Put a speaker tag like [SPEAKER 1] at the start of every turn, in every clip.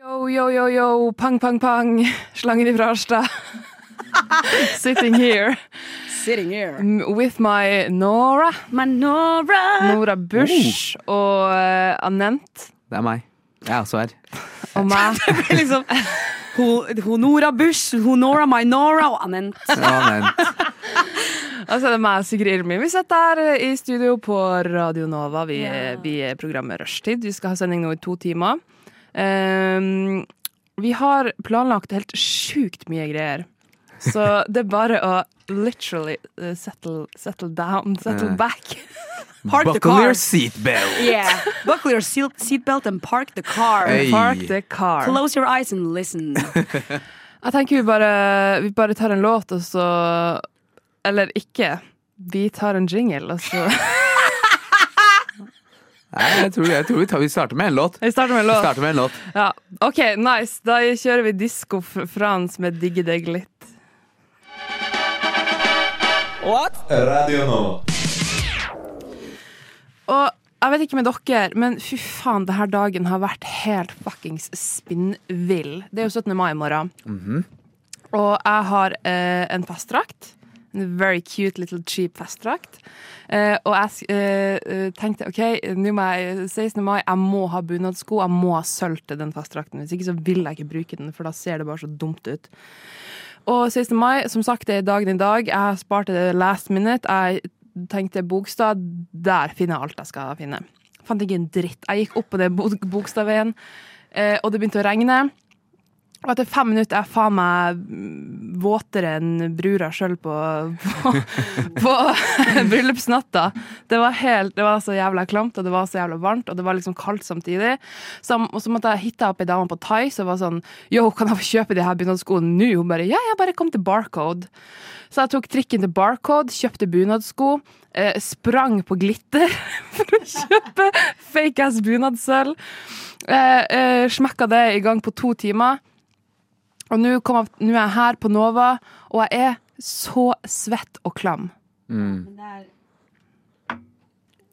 [SPEAKER 1] Yo, yo, yo, yo, pang, pang, pang. Slangen ifra Harstad. Sitting here
[SPEAKER 2] Sitting here.
[SPEAKER 1] with my Nora.
[SPEAKER 2] Manora.
[SPEAKER 1] Nora Bush og eh, Anent.
[SPEAKER 3] Det er meg. Jeg er også her.
[SPEAKER 1] Og meg.
[SPEAKER 2] liksom Ho- Honora Bush, Honora Minora og Anent.
[SPEAKER 3] Ja, men,
[SPEAKER 1] Og så er Altså, det meg, Sigrid Irmi. Vi sitter her eh, i studio på Radio Nova. Vi, vi er programmet Rushtid. Vi skal ha sending nå i to timer. Ehm, vi har planlagt helt sjukt mye greier. Så det er bare å literally eh, settle, settle down, settle
[SPEAKER 3] Ja.
[SPEAKER 1] back.
[SPEAKER 2] Park the
[SPEAKER 3] Buckle
[SPEAKER 2] car.
[SPEAKER 3] your seatbelt.
[SPEAKER 2] Yeah. Buckle your seal- seatbelt and park the car.
[SPEAKER 3] Hey.
[SPEAKER 1] Park the car.
[SPEAKER 2] Close your eyes and listen.
[SPEAKER 1] Jeg tenker vi bare, vi bare tar en låt, og så Eller ikke. Vi tar en jingle, og så
[SPEAKER 3] Nei, jeg tror, jeg tror vi, tar, vi starter med en låt.
[SPEAKER 1] Vi starter med en
[SPEAKER 3] Vi
[SPEAKER 1] låt.
[SPEAKER 3] starter med en låt.
[SPEAKER 1] Ja. OK, nice. Da kjører vi Disko Frans med 'Digge deg litt'.
[SPEAKER 4] Radio Nova.
[SPEAKER 1] Og jeg vet ikke med dere, men fy faen, denne dagen har vært helt fuckings spinnvill. Det er jo 17. mai i morgen. Og jeg har eh, en festdrakt. En very cute little cheap festdrakt. Eh, og jeg sk- eh, eh, tenkte OK, nå må jeg 16. mai, jeg må ha bunadsko. Jeg må ha sølv til den festdrakten. Hvis ikke så vil jeg ikke bruke den, for da ser det bare så dumt ut. Og 16. mai, som sagt, det er dagen i dag. Jeg har spart det last minute. Jeg tenkte Bogstad, der finner jeg alt jeg skal finne. Fant ikke en dritt. Jeg gikk opp på den Bog- Bogstadveien, eh, og det begynte å regne. Og etter fem minutter er jeg faen meg mm, våtere enn brura sjøl på, på, på bryllupsnatta. Det var, helt, det var så jævla klamt, og det var så jævla varmt, og det var liksom kaldt samtidig. Så, og så måtte jeg hitte opp ei dame på Thai som var sånn Yo, kan jeg få kjøpe de her bunadskoene nå? Hun bare Ja, jeg bare kom til Barcode. Så jeg tok trikken til Barcode, kjøpte bunadsko, eh, sprang på glitter for å kjøpe fake ass bunadsølv. Eh, eh, smekka det i gang på to timer. Og nå kom jeg- nå er jeg her på Nova, og jeg er så svett og klam.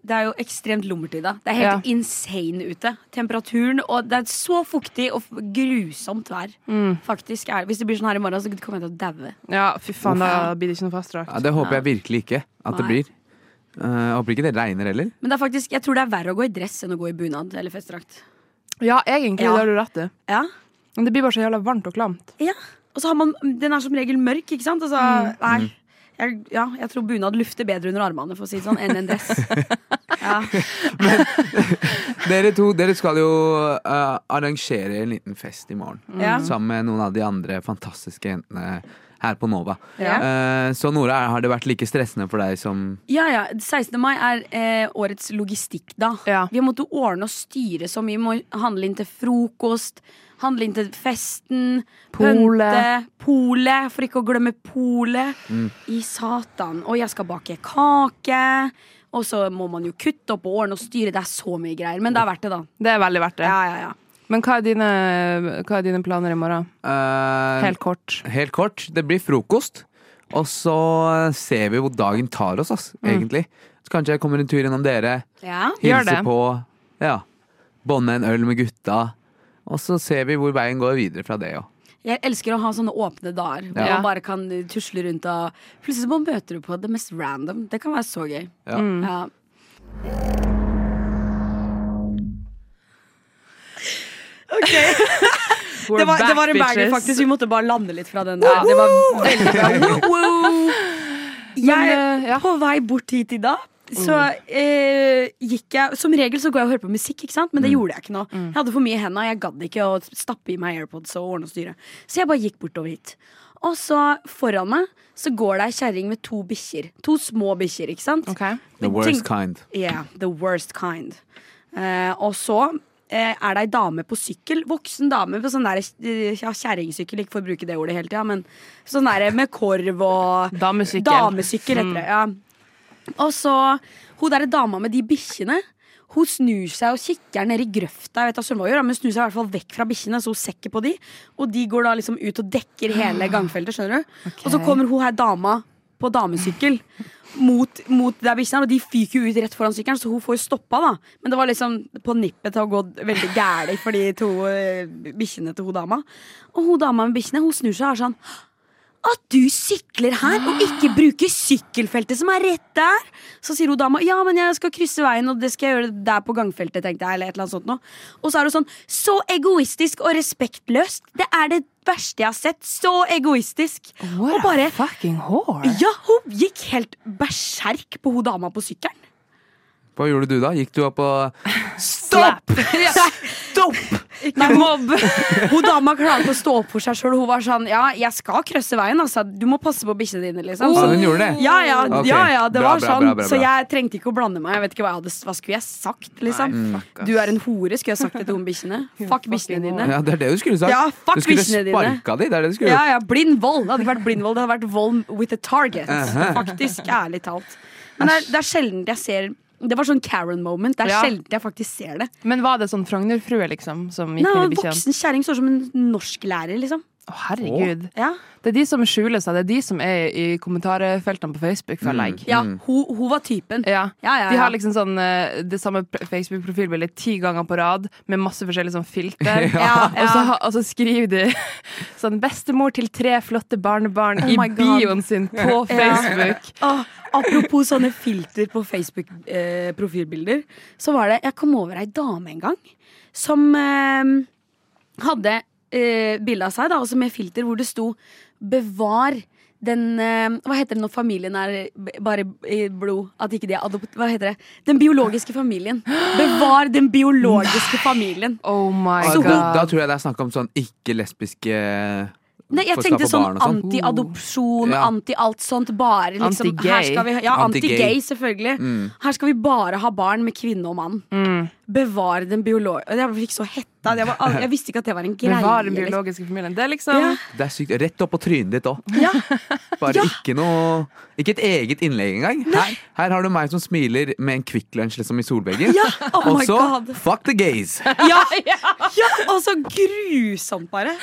[SPEAKER 2] Det er jo ekstremt lummertid, da. Det er helt insane ute. Temperaturen, og det er så fuktig og f- grusomt vær.
[SPEAKER 3] Mm.
[SPEAKER 2] Faktisk er det. Hvis det blir sånn her i morgen, så kommer jeg til å daue.
[SPEAKER 1] Ja, fy faen, da blir det ikke noe fastdrakt.
[SPEAKER 3] Ja, det håper jeg virkelig ikke at det
[SPEAKER 2] Nei.
[SPEAKER 3] blir. Eh, jeg håper ikke det regner heller.
[SPEAKER 2] Men det er faktisk, jeg tror det er verre å gå i dress enn å gå i bunad eller festdrakt.
[SPEAKER 1] Ja, egentlig,
[SPEAKER 2] Ja.
[SPEAKER 1] det har du rett i.
[SPEAKER 2] Ja.
[SPEAKER 1] Men det blir bare så jævla varmt og klamt.
[SPEAKER 2] ja. Og så har man Den er som regel mørk, ikke sant? Altså, nei. Jeg, ja, jeg tror bunad lufter bedre under armene for å si det sånn, enn en dress. Ja.
[SPEAKER 3] Dere to dere skal jo eh, arrangere en liten fest i morgen.
[SPEAKER 2] Ja.
[SPEAKER 3] Sammen med noen av de andre fantastiske jentene her på Nova.
[SPEAKER 2] Ja.
[SPEAKER 3] Eh, så Nora, har det vært like stressende for deg som
[SPEAKER 2] Ja, ja. 16. mai er eh, årets logistikk, da.
[SPEAKER 1] Ja.
[SPEAKER 2] Vi har måttet ordne og styre så mye. Vi må handle inn til frokost, handle inn til festen,
[SPEAKER 1] Polet.
[SPEAKER 2] pynte, polet, for ikke å glemme polet. I satan. Og jeg skal bake kake. Og så må man jo kutte opp og ordne og styre. Det er så mye greier. Men det er verdt det, da.
[SPEAKER 1] Det er veldig verdt det.
[SPEAKER 2] Ja, ja, ja.
[SPEAKER 1] Men hva er, dine, hva er dine planer i morgen?
[SPEAKER 3] Eh,
[SPEAKER 2] Um,
[SPEAKER 1] Helt kort.
[SPEAKER 3] Helt kort, det blir frokost. Og så ser vi hvor dagen tar oss, ass, egentlig. Så kanskje jeg kommer en tur innom dere,
[SPEAKER 2] ja.
[SPEAKER 1] Gjør
[SPEAKER 3] hilser
[SPEAKER 1] det.
[SPEAKER 3] på, ja, bånde en øl med gutta. Og så ser vi hvor veien går videre fra det òg.
[SPEAKER 2] Jeg elsker å ha sånne åpne dager hvor
[SPEAKER 1] Ja.
[SPEAKER 2] man bare kan eh, tusle rundt og Plutselig så bare møter du på det mest random. Det kan være så gøy.
[SPEAKER 3] Ja.
[SPEAKER 2] Ja.
[SPEAKER 1] We're
[SPEAKER 2] Det var, det
[SPEAKER 1] back,
[SPEAKER 2] var en banger,
[SPEAKER 1] bitches.
[SPEAKER 2] faktisk. Vi måtte bare lande litt fra den.
[SPEAKER 1] Ja,
[SPEAKER 2] Der.
[SPEAKER 1] det var
[SPEAKER 2] Veldig bra. Wow. Jeg
[SPEAKER 1] Men, eh, ja.
[SPEAKER 2] På vei bort hit i dag så eh, gikk jeg Som regel så går jeg og hører på musikk, ikke sant? men det
[SPEAKER 3] Mm.
[SPEAKER 2] gjorde jeg ikke nå. Jeg hadde for mye i hendene, jeg gadd ikke å stappe i meg AirPods og ordne og styre. Så jeg bare gikk bortover hit. Og så foran meg så går det ei kjerring med to bikkjer. To små bikkjer, ikke sant?
[SPEAKER 1] Ok.
[SPEAKER 3] The
[SPEAKER 2] Men
[SPEAKER 3] worst
[SPEAKER 2] tenk-
[SPEAKER 3] kind.
[SPEAKER 2] Yeah, the worst kind. Eh, og så eh, eh, er det ei dame på sykkel, voksen dame på sånn der eh, ja, kjerringsykkel, ikke for å bruke det ordet hele tida, men sånn der med korv og
[SPEAKER 1] Damesykkel.
[SPEAKER 2] Damesykkel
[SPEAKER 1] Mm.
[SPEAKER 2] heter det, ja. Og så hun derre dama med de bikkjene. Hun snur seg og kikker ned i grøfta, jeg vet da søren hva hun gjør, da, men hun snur seg i hvert fall vekk fra bikkjene, så hun ser ikke på de. Og de går da liksom ut og dekker hele gangfeltet, skjønner du. Og så kommer hun her dama på damesykkel mot, mot der bikkjene er, og de fyker jo ut rett foran sykkelen, så hun får jo stoppa, da. Men det var liksom på nippet til å gå veldig gæli for de to eh, bikkjene til hun dama. Og hun dama med bikkjene, hun snur seg og er sånn at du sykler her og ikke bruker sykkelfeltet som er rett der. Så sier hun dama ja, men jeg skal krysse veien, og det skal jeg gjøre der på gangfeltet. tenkte jeg, eller et eller annet sånt nå. Og så er hun sånn så egoistisk og respektløst. Det er det verste jeg har sett. Så egoistisk.
[SPEAKER 1] Hmm. What
[SPEAKER 2] og bare
[SPEAKER 1] a fucking whore.
[SPEAKER 2] Ja, hun gikk helt berserk på hun dama på sykkelen.
[SPEAKER 3] Hva gjorde du da? Gikk du opp og
[SPEAKER 1] Stopp!
[SPEAKER 2] Stopp! Nei, mobb! Hun dama klarte å stå opp for seg sjøl. Hun var sånn Ja, jeg skal krysse veien, altså. Du må passe på bikkjene dine, liksom.
[SPEAKER 3] Ja,
[SPEAKER 2] Så-
[SPEAKER 3] hun gjorde det?
[SPEAKER 2] Ja, ja,
[SPEAKER 3] Ok.
[SPEAKER 2] ja, ja det
[SPEAKER 3] Bra,
[SPEAKER 2] var
[SPEAKER 3] bra,
[SPEAKER 2] sånn.
[SPEAKER 3] bra, bra, bra.
[SPEAKER 2] Så jeg trengte ikke å blande meg. Jeg vet ikke Hva, jeg hadde, hva skulle jeg sagt? liksom
[SPEAKER 1] Nei, fuck, ass.
[SPEAKER 2] Du er en hore, skulle jeg sagt det til hun bikkjene. Fuck bikkjene dine.
[SPEAKER 3] Ja, det er det du skulle sagt.
[SPEAKER 2] Ja, fuck
[SPEAKER 3] du skulle
[SPEAKER 2] bikkjene dine.
[SPEAKER 3] sparka de, det er det du skulle
[SPEAKER 2] Ja,
[SPEAKER 3] gjort.
[SPEAKER 2] ja, blind vold. Det hadde ikke vært blind vold, det hadde vært vold with a target. Faktisk, ærlig talt. Men det er, det er sjelden jeg ser Det var sånn Karen moment. Det er
[SPEAKER 1] Ja.
[SPEAKER 2] sjelden jeg faktisk ser det.
[SPEAKER 1] Men var det sånn Frogner-frue, liksom, som gikk
[SPEAKER 2] Nei,
[SPEAKER 1] med
[SPEAKER 2] en
[SPEAKER 1] de bikkjene?
[SPEAKER 2] voksen kjerring står som en norsklærer, liksom.
[SPEAKER 1] Å, herregud.
[SPEAKER 2] Ja.
[SPEAKER 1] Det er de som skjuler seg. Det er de som er i kommentarfeltene på Facebook, føler jeg.
[SPEAKER 2] Ja,
[SPEAKER 3] Mm.
[SPEAKER 2] hun, hun var typen.
[SPEAKER 1] Ja.
[SPEAKER 2] Ja, ja,
[SPEAKER 1] De
[SPEAKER 2] ja.
[SPEAKER 1] har liksom sånn eh, det samme pr- Facebook-profilbildet ti ganger på rad med masse forskjellige sånn filter.
[SPEAKER 2] Ja,
[SPEAKER 1] Og, så,
[SPEAKER 2] ja.
[SPEAKER 1] ha- og så skriver de sånn 'bestemor til tre flotte barnebarn' i
[SPEAKER 2] Oh my God.
[SPEAKER 1] bioen sin på Facebook.
[SPEAKER 2] Åh, Ah, apropos sånne filter på Facebook-profilbilder, så var det Jeg kom over ei dame en gang som eh, hadde eh, bilde av seg, da, også med filter, hvor det sto 'bevar'. Den, eh, hva heter det når familien er b- bare i blod? At ikke de er adopt... Hva heter det? Den biologiske familien. Bevar den biologiske familien.
[SPEAKER 1] Oh my
[SPEAKER 3] Ja,
[SPEAKER 2] Så
[SPEAKER 3] da,
[SPEAKER 1] god.
[SPEAKER 3] da tror jeg det er snakk om sånn ikke-lesbiske
[SPEAKER 2] Nei, jeg
[SPEAKER 3] Forstå
[SPEAKER 2] tenkte
[SPEAKER 3] på
[SPEAKER 2] sånn
[SPEAKER 3] barn og sånn.
[SPEAKER 2] anti-adopsjon,
[SPEAKER 3] Ja.
[SPEAKER 2] anti-alt sånt. Bare liksom
[SPEAKER 1] Anti-gay.
[SPEAKER 2] her skal vi, Ja,
[SPEAKER 3] Anti-gay. Mm.
[SPEAKER 2] anti-gay, selvfølgelig. Her skal vi bare ha barn med kvinne og mann. Bevare den biologiske Jeg fikk så hetta. Jeg, var, jeg visste ikke at det var en greie.
[SPEAKER 1] Men var den
[SPEAKER 2] liksom.
[SPEAKER 1] biologiske familien? Det er liksom
[SPEAKER 2] Ja.
[SPEAKER 3] Det er sykt. Rett opp på trynet ditt òg.
[SPEAKER 2] Ja.
[SPEAKER 3] Bare
[SPEAKER 2] Ja.
[SPEAKER 3] ikke noe Ikke et eget innlegg engang. Her, her har du meg som smiler med en Kvikk Lunsj liksom i solveggen.
[SPEAKER 2] Ja, oh my
[SPEAKER 3] og så
[SPEAKER 2] God.
[SPEAKER 3] fuck the gays!
[SPEAKER 2] Ja, ja, og så grusomt, bare.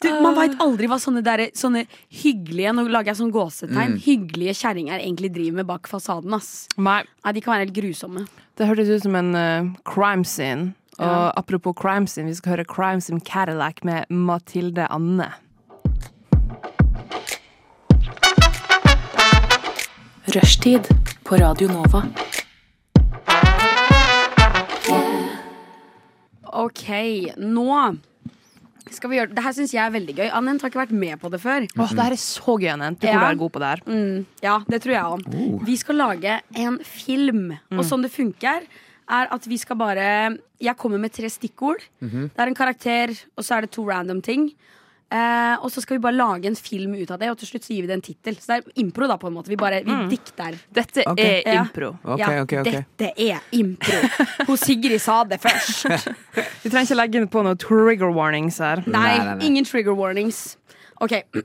[SPEAKER 2] Du, man veit aldri hva sånne, der, sånne hyggelige Nå lager jeg sånn gåsetegn.
[SPEAKER 3] Mm.
[SPEAKER 2] Hyggelige kjerringer egentlig driver med bak fasaden. ass
[SPEAKER 1] Nei,
[SPEAKER 2] Nei, De kan være helt grusomme.
[SPEAKER 1] det hørtes ut som en eh, crime scene. Og apropos crime scene, vi skal høre Crime Scene Cadillac med Mathilde Anne.
[SPEAKER 5] Rushtid på Radio Nova.
[SPEAKER 2] Ok, nå skal vi gjøre Det her syns jeg er veldig gøy. Anent har ikke vært med på det før.
[SPEAKER 1] Åh, det her er så gøy, Anent. Du kommer til
[SPEAKER 2] Ja.
[SPEAKER 1] å være god på det her.
[SPEAKER 2] Mm, ja, det tror jeg òg.
[SPEAKER 3] Oh.
[SPEAKER 2] Vi skal lage en film. Og
[SPEAKER 3] Mm.
[SPEAKER 2] sånn det funker, er at vi skal bare Jeg kommer med tre stikkord.
[SPEAKER 3] Mhm.
[SPEAKER 2] Det er en karakter, og så er det to random ting. Eh, og så skal vi bare lage en film ut av det, og til slutt så gir vi det en tittel. Så det er impro, da, på en måte. Vi bare vi dikter.
[SPEAKER 1] Dette
[SPEAKER 3] Ok.
[SPEAKER 1] er
[SPEAKER 2] Ja.
[SPEAKER 1] impro.
[SPEAKER 3] Mm. Ok,
[SPEAKER 2] ja,
[SPEAKER 3] ok, ok.
[SPEAKER 2] Dette er impro. Hun Sigrid sa det først.
[SPEAKER 1] Vi trenger ikke legge inn på noen trigger warnings her.
[SPEAKER 2] Nei,
[SPEAKER 3] Nei, nei, nei.
[SPEAKER 2] ingen trigger warnings. Ok. Vi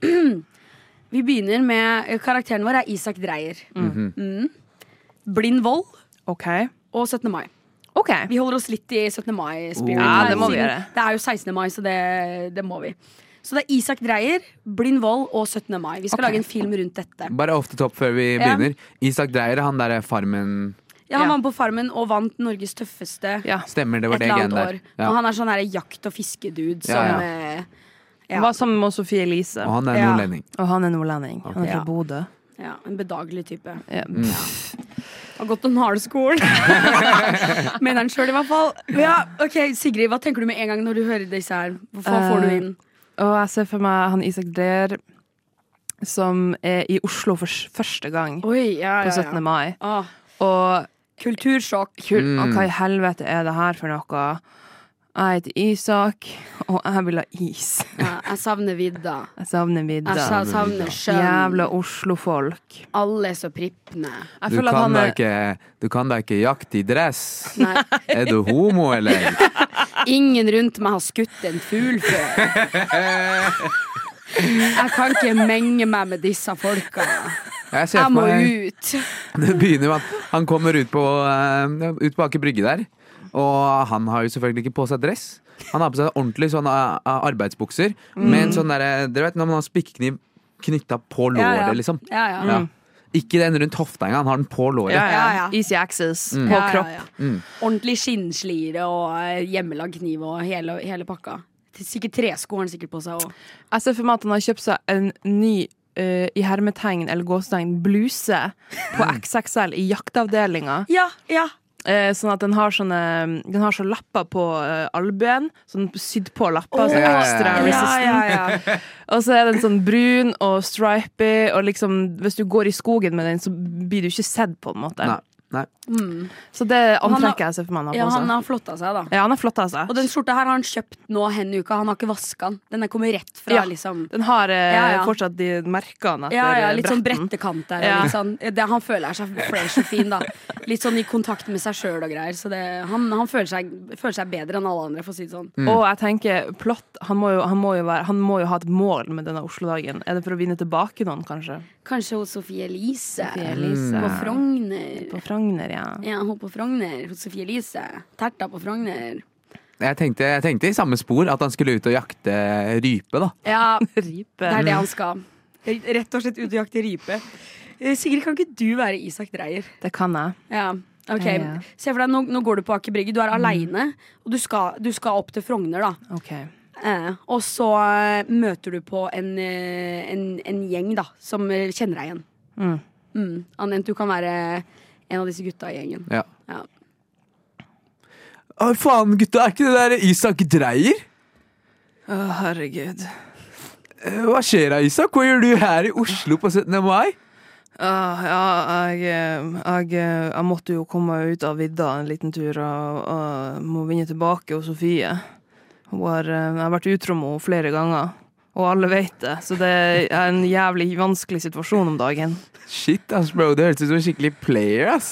[SPEAKER 2] begynner med eh, Karakteren vår er Isak Dreyer.
[SPEAKER 3] Mhm.
[SPEAKER 2] Mm. Blind vold
[SPEAKER 1] OK.
[SPEAKER 2] og 17. mai.
[SPEAKER 1] OK.
[SPEAKER 2] Vi holder oss litt i 17. mai-spirit.
[SPEAKER 3] Oh. Ja, det
[SPEAKER 1] må vi
[SPEAKER 2] siden
[SPEAKER 1] gjøre.
[SPEAKER 2] Det er jo 16. mai, så det, det må vi. Så det er Isak Dreyer, blind vold og 17. mai. Vi skal
[SPEAKER 1] Ok.
[SPEAKER 2] lage en film rundt dette.
[SPEAKER 3] Bare off the top før vi
[SPEAKER 2] Ja.
[SPEAKER 3] begynner. Isak Dreyer, han derre Farmen
[SPEAKER 2] Ja,
[SPEAKER 1] Ja.
[SPEAKER 2] han var med på Farmen og vant Norges tøffeste
[SPEAKER 1] Ja.
[SPEAKER 3] Stemmer, det
[SPEAKER 2] et
[SPEAKER 3] var det
[SPEAKER 2] eller
[SPEAKER 3] greiene
[SPEAKER 2] annet
[SPEAKER 3] der.
[SPEAKER 2] år. Og
[SPEAKER 3] Ja.
[SPEAKER 2] han er sånn her jakt- og fiskedude som
[SPEAKER 3] Ja, ja.
[SPEAKER 2] eh,
[SPEAKER 1] Hun var sammen med Sofie Elise.
[SPEAKER 3] Og han er
[SPEAKER 2] Ja.
[SPEAKER 3] nordlending.
[SPEAKER 1] Og han er nordlending. Han er fra
[SPEAKER 2] Ja.
[SPEAKER 1] Bodø.
[SPEAKER 2] ja, En bedagelig type.
[SPEAKER 1] Ja.
[SPEAKER 2] Har gått den harde skolen. Mener han sjøl, i hvert fall. Ja, ok, Sigrid, hva tenker du med en gang når du hører disse her? Hva får du inn?
[SPEAKER 1] Og jeg ser for meg han Isak Dreer som er i Oslo for s- første gang
[SPEAKER 2] Oi, ja,
[SPEAKER 1] på
[SPEAKER 2] ja,
[SPEAKER 1] 17.
[SPEAKER 2] ja.
[SPEAKER 1] mai.
[SPEAKER 2] Ah,
[SPEAKER 1] Og,
[SPEAKER 2] kultursjokk.
[SPEAKER 1] kul, og hva i helvete er det her for noe? Jeg heter Isak, og jeg vil ha is.
[SPEAKER 2] Ja, jeg savner vidda.
[SPEAKER 1] Jeg savner
[SPEAKER 2] Jeg
[SPEAKER 1] middag.
[SPEAKER 2] sa- Altså, savner sjøen.
[SPEAKER 1] Jævla Oslo-folk.
[SPEAKER 2] Alle er så prippne.
[SPEAKER 1] Jeg
[SPEAKER 3] Du
[SPEAKER 1] føler at
[SPEAKER 3] kan,
[SPEAKER 1] han
[SPEAKER 3] da
[SPEAKER 1] er
[SPEAKER 3] ikke, du kan da ikke jakte i dress.
[SPEAKER 2] Nei.
[SPEAKER 3] Er du homo, eller?
[SPEAKER 2] Ingen rundt meg har skutt en fugl før. Jeg kan ikke menge meg med disse folka.
[SPEAKER 3] Jeg ser
[SPEAKER 2] Jeg
[SPEAKER 3] for
[SPEAKER 2] må
[SPEAKER 3] meg
[SPEAKER 2] ut.
[SPEAKER 3] Det begynner med at han kommer ut på, eh, ja, ut på Aker Brygge der. Og han har jo selvfølgelig ikke på seg dress. Han har på seg ordentlig sånn eh, arbeidsbukser
[SPEAKER 2] Mm.
[SPEAKER 3] med en sånn derre Dere vet når man har spikkekniv knytta på låret,
[SPEAKER 2] Ja, ja.
[SPEAKER 3] liksom.
[SPEAKER 2] Ja, ja.
[SPEAKER 1] Mm.
[SPEAKER 3] Ja. Ikke den rundt hofta engang, han har den på låret.
[SPEAKER 1] Ja, ja.
[SPEAKER 2] Ja, ja.
[SPEAKER 1] Easy access
[SPEAKER 3] Mm.
[SPEAKER 2] Ja,
[SPEAKER 1] på
[SPEAKER 2] ja,
[SPEAKER 1] kropp. Mm.
[SPEAKER 2] ja. Ordentlig skinnslire og eh, hjemmelagd kniv og hele, hele pakka. Sikkert tresko har han sikkert på seg òg.
[SPEAKER 1] Jeg ser for meg at han har kjøpt seg en ny eh, i hermetegn eller gåsetegn bluse på
[SPEAKER 3] Mm.
[SPEAKER 1] XXL i jaktavdelinga.
[SPEAKER 2] Ja, ja.
[SPEAKER 1] Eh, sånn at den har sånne Den har så lapper på eh, albuen, sånn sydd på lapper,
[SPEAKER 3] Åh,
[SPEAKER 1] sånn ekstra
[SPEAKER 3] ja,
[SPEAKER 1] resistant.
[SPEAKER 2] ja, ja.
[SPEAKER 1] Og så er den sånn brun og stripy, og liksom hvis du går i skogen med den, så blir du ikke sett, på en måte.
[SPEAKER 3] Nei, nei.
[SPEAKER 1] Så det er
[SPEAKER 2] han har-
[SPEAKER 1] antrekket jeg ser for meg han har
[SPEAKER 2] ja
[SPEAKER 1] på
[SPEAKER 2] han
[SPEAKER 1] seg.
[SPEAKER 2] har flotta seg, da.
[SPEAKER 1] Ja, han er flott, altså.
[SPEAKER 2] Og den skjorta her har han kjøpt nå hen uka. Han har ikke vaska den. Den er kommet rett fra
[SPEAKER 1] Ja.
[SPEAKER 2] liksom
[SPEAKER 1] Den har eh,
[SPEAKER 2] Ja, ja.
[SPEAKER 1] fortsatt de merkene etter
[SPEAKER 2] ja, ja,
[SPEAKER 1] eh,
[SPEAKER 2] litt sånn
[SPEAKER 1] bretten.
[SPEAKER 2] brettekant der. og
[SPEAKER 1] Ja.
[SPEAKER 2] Litt sånn, det, han føler seg fresh og fin, da. Litt sånn i kontakt med seg sjøl og greier. Så det, han, han føler, seg, føler seg bedre enn alle andre, for å si det sånn.
[SPEAKER 1] Og jeg tenker, plott han må, jo, han, må jo være, han må jo ha et mål med denne Oslo-dagen. Er det for å vinne tilbake noen, kanskje?
[SPEAKER 2] Kanskje hos Sofie Elise.
[SPEAKER 1] Sofie Elise.
[SPEAKER 2] På Frogner.
[SPEAKER 1] På Frogner, ja.
[SPEAKER 2] Ja, hun på Frogner. Hos Sofie Elise. Terta på Frogner.
[SPEAKER 3] Jeg, tenkte, jeg tenkte i samme spor at han skulle ut og jakte rype, da.
[SPEAKER 2] Ja, det
[SPEAKER 1] Ripe.
[SPEAKER 2] er det han skal. Rett og slett ut og jakte rype. Eh, Sigrid, kan ikke du være Isak Dreyer?
[SPEAKER 1] Det kan jeg.
[SPEAKER 2] Ja, ok
[SPEAKER 1] Ja. Mm.
[SPEAKER 2] Se for deg, nå, nå går du på Aker Brygge. Du er aleine, og du skal, du skal opp til Frogner, da.
[SPEAKER 1] OK.
[SPEAKER 2] Eh, og så eh, møter du på en, eh, en, en gjeng, da, som eh, kjenner deg igjen.
[SPEAKER 1] Mm.
[SPEAKER 2] Mm. Annet du kan være en av disse gutta i gjengen.
[SPEAKER 3] Ja.
[SPEAKER 2] Ja.
[SPEAKER 3] Å, faen, gutta, er ikke det der Isak Dreyer?
[SPEAKER 1] Å, herregud.
[SPEAKER 3] Eh, Hva skjer da, Isak? Hva gjør du her i Oslo på 17. mai?
[SPEAKER 1] Ah, ja, jeg, eh, jeg, eh, jeg måtte jo komme meg ut av vidda en liten tur og, og må vinne tilbake hos Sofie. Hun har, eh, jeg har vært utro med henne flere ganger, og alle vet det. Så det er en jævlig vanskelig situasjon om dagen.
[SPEAKER 3] Shit, ass, bro, det høres ut som en skikkelig player, ass.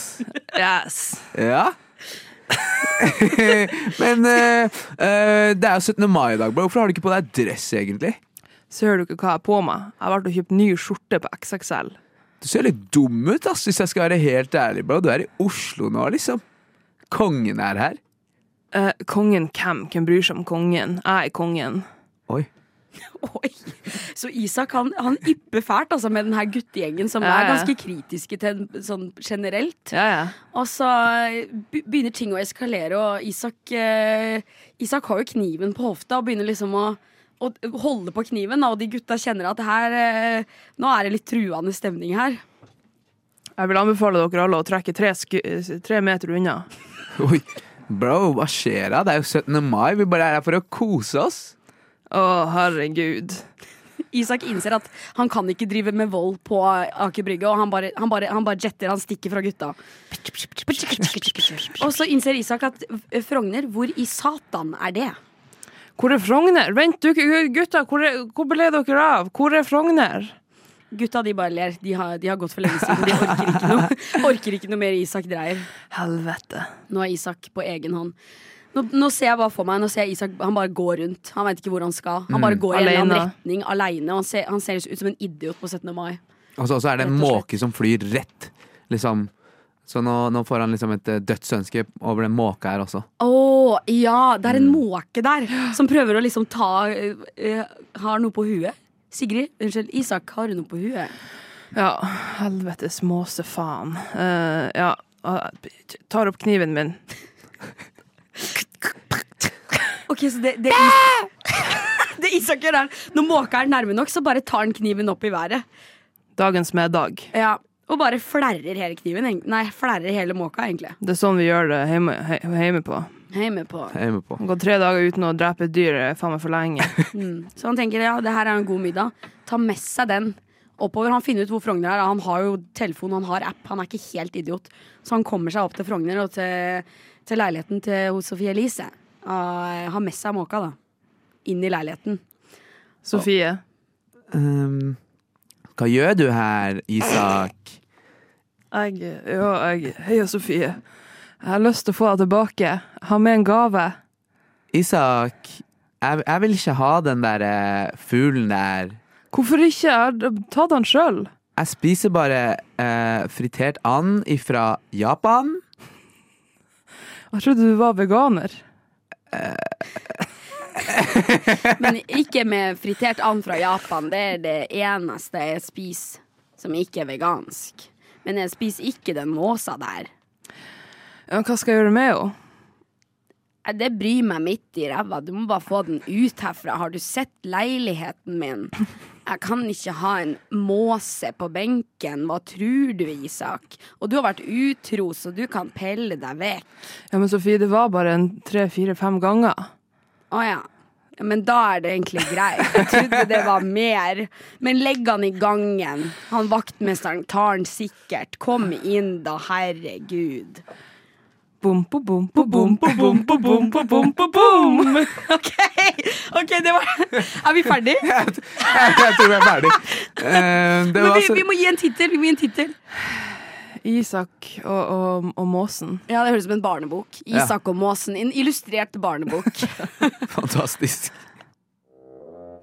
[SPEAKER 1] Yes.
[SPEAKER 3] Ja. Men eh, eh, det er jo 17. mai i dag, bro. Hvorfor har du ikke på deg dress, egentlig?
[SPEAKER 1] Ser du ikke hva jeg har på meg? Jeg har vært og kjøpt ny skjorte på XXL.
[SPEAKER 3] Du ser litt dum ut, ass, hvis jeg skal være helt ærlig, bro. Du er i Oslo nå, liksom. Kongen er her.
[SPEAKER 1] Eh, kongen hvem? Hvem bryr seg om kongen? Jeg er kongen.
[SPEAKER 3] Oi.
[SPEAKER 2] Oi. Så Isak han, han ypper fælt altså, med den her guttegjengen, som
[SPEAKER 1] Ja,
[SPEAKER 2] er
[SPEAKER 1] ja.
[SPEAKER 2] ganske kritiske til en- sånn generelt.
[SPEAKER 1] Ja, ja.
[SPEAKER 2] Og så eh, be- begynner ting å eskalere, og Isak, eh, Isak har jo kniven på hofta og begynner liksom å, å holde på kniven. Da, og de gutta kjenner at det her, eh, nå er det litt truende stemning her.
[SPEAKER 1] Jeg vil anbefale dere alle å trekke tre, sku tre meter unna.
[SPEAKER 3] Oi. Bro, hva skjer da? Det er jo 17. mai. Vi bare er her for å kose oss.
[SPEAKER 1] Å, herregud.
[SPEAKER 2] Isak innser at han kan ikke drive med vold på Aker Brygge, og han bare, han bare, han bare jetter, han stikker fra gutta. Og så innser Isak at eh, Frogner, hvor i satan er det?
[SPEAKER 1] Hvor er Frogner? Vent, du, gutta, hvor, er, hvor ble dere av? Hvor er Frogner?
[SPEAKER 2] Gutta de bare ler. De har, de har gått for lenge siden. De orker ikke noe, orker ikke noe mer Isak Dreyer.
[SPEAKER 1] Helvete.
[SPEAKER 2] Nå er Isak på egen hånd. Nå, nå ser jeg bare for meg Nå ser jeg Isak han bare går rundt. Han veit ikke hvor han skal. Han bare går i en eller annen
[SPEAKER 1] Alene.
[SPEAKER 2] retning aleine. Han, ser- han ser ut som en idiot på 17. mai.
[SPEAKER 3] Og så og så er det
[SPEAKER 2] Rett
[SPEAKER 3] en
[SPEAKER 2] og slett.
[SPEAKER 3] måke som flyr rett, liksom. Så nå, nå får han liksom et eh, dødsønske over den måka her også.
[SPEAKER 2] Å ja! Det er en måke der som prøver å liksom ta eh, eh, Har noe på huet. Sigrid, unnskyld, Isak, har du noe på huet?
[SPEAKER 1] Ja, helvetes måse faen. Eh, ja, jeg tar opp kniven min.
[SPEAKER 2] Ok, så det, det, Is det Isak gjør, er når måka er nærme nok, så bare tar han kniven opp i været.
[SPEAKER 1] Dagens middag.
[SPEAKER 2] Ja, Og bare flerrer hele kniven. egent- Nei, flerrer hele måka, egentlig.
[SPEAKER 1] Det er sånn vi gjør det hjemme, he- hjemme på.
[SPEAKER 2] Jeg er med på.
[SPEAKER 3] Jeg er med på.
[SPEAKER 1] Gå tre dager uten å drepe et dyr er faen meg for lenge.
[SPEAKER 2] Så han tenker ja, det her er en god middag. Ta med seg den oppover. Han finner ut hvor Frogner er. Han har jo telefon, han har app. Han er ikke helt idiot. Så han kommer seg opp til Frogner og til, til leiligheten til hos Sofie Elise. Og har med seg måka, da. Inn i leiligheten.
[SPEAKER 1] Sofie.
[SPEAKER 3] Ehm, hva gjør du her, Isak?
[SPEAKER 1] Jeg, ja, jeg, hei Sofie. Jeg har lyst til å få deg tilbake. Jeg har med en gave.
[SPEAKER 3] Isak, jeg, jeg vil ikke ha den der eh, fuglen der.
[SPEAKER 1] Hvorfor ikke? Ta den sjøl.
[SPEAKER 3] Jeg spiser bare eh, fritert and ifra Japan.
[SPEAKER 1] Jeg trodde du var veganer.
[SPEAKER 2] Men ikke med fritert and fra Japan. Det er det eneste jeg spiser som ikke er vegansk. Men jeg spiser ikke den måsa der.
[SPEAKER 1] Ja, hva skal jeg gjøre med henne?
[SPEAKER 2] Eh, Det bryr meg midt i ræva. Du må bare få den ut herfra. Har du sett leiligheten min? Jeg kan ikke ha en måse på benken. Hva tror du, Isak? Og du har vært utro, så du kan pelle deg vekk.
[SPEAKER 1] Ja, men Sofie, det var bare en tre-fire-fem ganger.
[SPEAKER 2] Å ja. Ja, Men da er det egentlig greit. Jeg trodde det var mer. Men legg han i gangen. Han vaktmesteren tar han sikkert. Kom inn, da. Herregud.
[SPEAKER 1] Bom, bo, bom, bo, bom, bo, bom, bo, bom, bo, bom, bo, bom.
[SPEAKER 2] OK, ok, det var Er vi ferdige?
[SPEAKER 3] Jeg, jeg tror jeg er ferdig. Eh, det
[SPEAKER 2] Men
[SPEAKER 3] var
[SPEAKER 2] vi,
[SPEAKER 3] så,
[SPEAKER 2] vi må gi en tittel. Vi må gi en tittel.
[SPEAKER 1] Isak og, og, og måsen.
[SPEAKER 2] Ja, det høres ut som en barnebok. Isak og måsen. En illustrert barnebok.
[SPEAKER 3] fantastisk.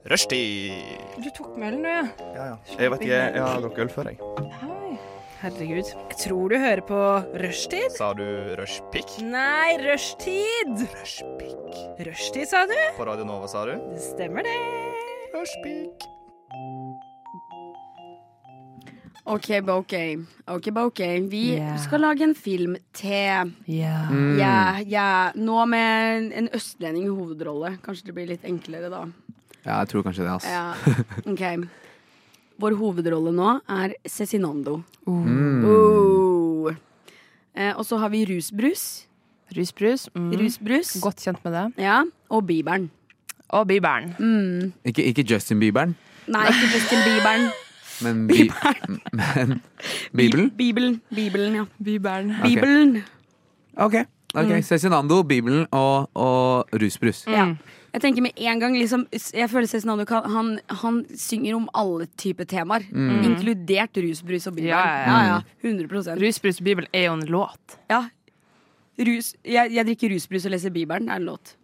[SPEAKER 6] Rushtid!
[SPEAKER 1] Du tok melden, du, ja.
[SPEAKER 6] Jeg vet ikke, jeg har drukket øl før, jeg.
[SPEAKER 7] Herregud. Jeg tror du hører på rushtid.
[SPEAKER 6] Sa du rushpick?
[SPEAKER 7] Nei, rushtid!
[SPEAKER 6] Rushpick.
[SPEAKER 7] Rushtid, sa du?
[SPEAKER 6] På Radio Nova, sa du?
[SPEAKER 7] Det stemmer, det.
[SPEAKER 6] Rushpick.
[SPEAKER 2] OK, Bokey. OK, Bokey. Vi
[SPEAKER 1] Yeah.
[SPEAKER 2] skal lage en film til Mm.
[SPEAKER 1] Ja.
[SPEAKER 2] Ja, ja. Nå med en- en østlending i hovedrolle. Kanskje det blir litt enklere da.
[SPEAKER 3] Ja, jeg tror kanskje det, altså.
[SPEAKER 2] Ja, ok Vår hovedrolle nå er Cezinando.
[SPEAKER 3] Mm.
[SPEAKER 2] Oh. Eh, og så har vi rusbrus.
[SPEAKER 1] Rusbrus. Mm.
[SPEAKER 2] Rusbrus.
[SPEAKER 1] Godt kjent med det.
[SPEAKER 2] Ja, og Bibelen.
[SPEAKER 1] Og bibelen.
[SPEAKER 2] Mm.
[SPEAKER 3] Ikke, ikke Justin Bieberen,
[SPEAKER 2] Nei, ikke Justin Bibelen.
[SPEAKER 3] men, bi men Bibelen.
[SPEAKER 2] Bibelen, Bibelen, ja.
[SPEAKER 1] Bibelen.
[SPEAKER 3] Ok.
[SPEAKER 2] Bibelen.
[SPEAKER 3] Ok,
[SPEAKER 2] Mm.
[SPEAKER 3] ok. Cezinando, Bibelen og, og rusbrus.
[SPEAKER 2] Ja.
[SPEAKER 1] Mm.
[SPEAKER 2] Jeg tenker med en gang liksom, Jeg føler Cezinando kan- han, han synger om alle typer temaer. Inkludert rusbrus og Bibelen.
[SPEAKER 1] Mm. Ja, ja, ja.
[SPEAKER 2] 100
[SPEAKER 1] Rusbrus og bibel er jo en låt.
[SPEAKER 2] Ja. Rus, jeg, jeg drikker rusbrus og leser Bibelen, er en låt.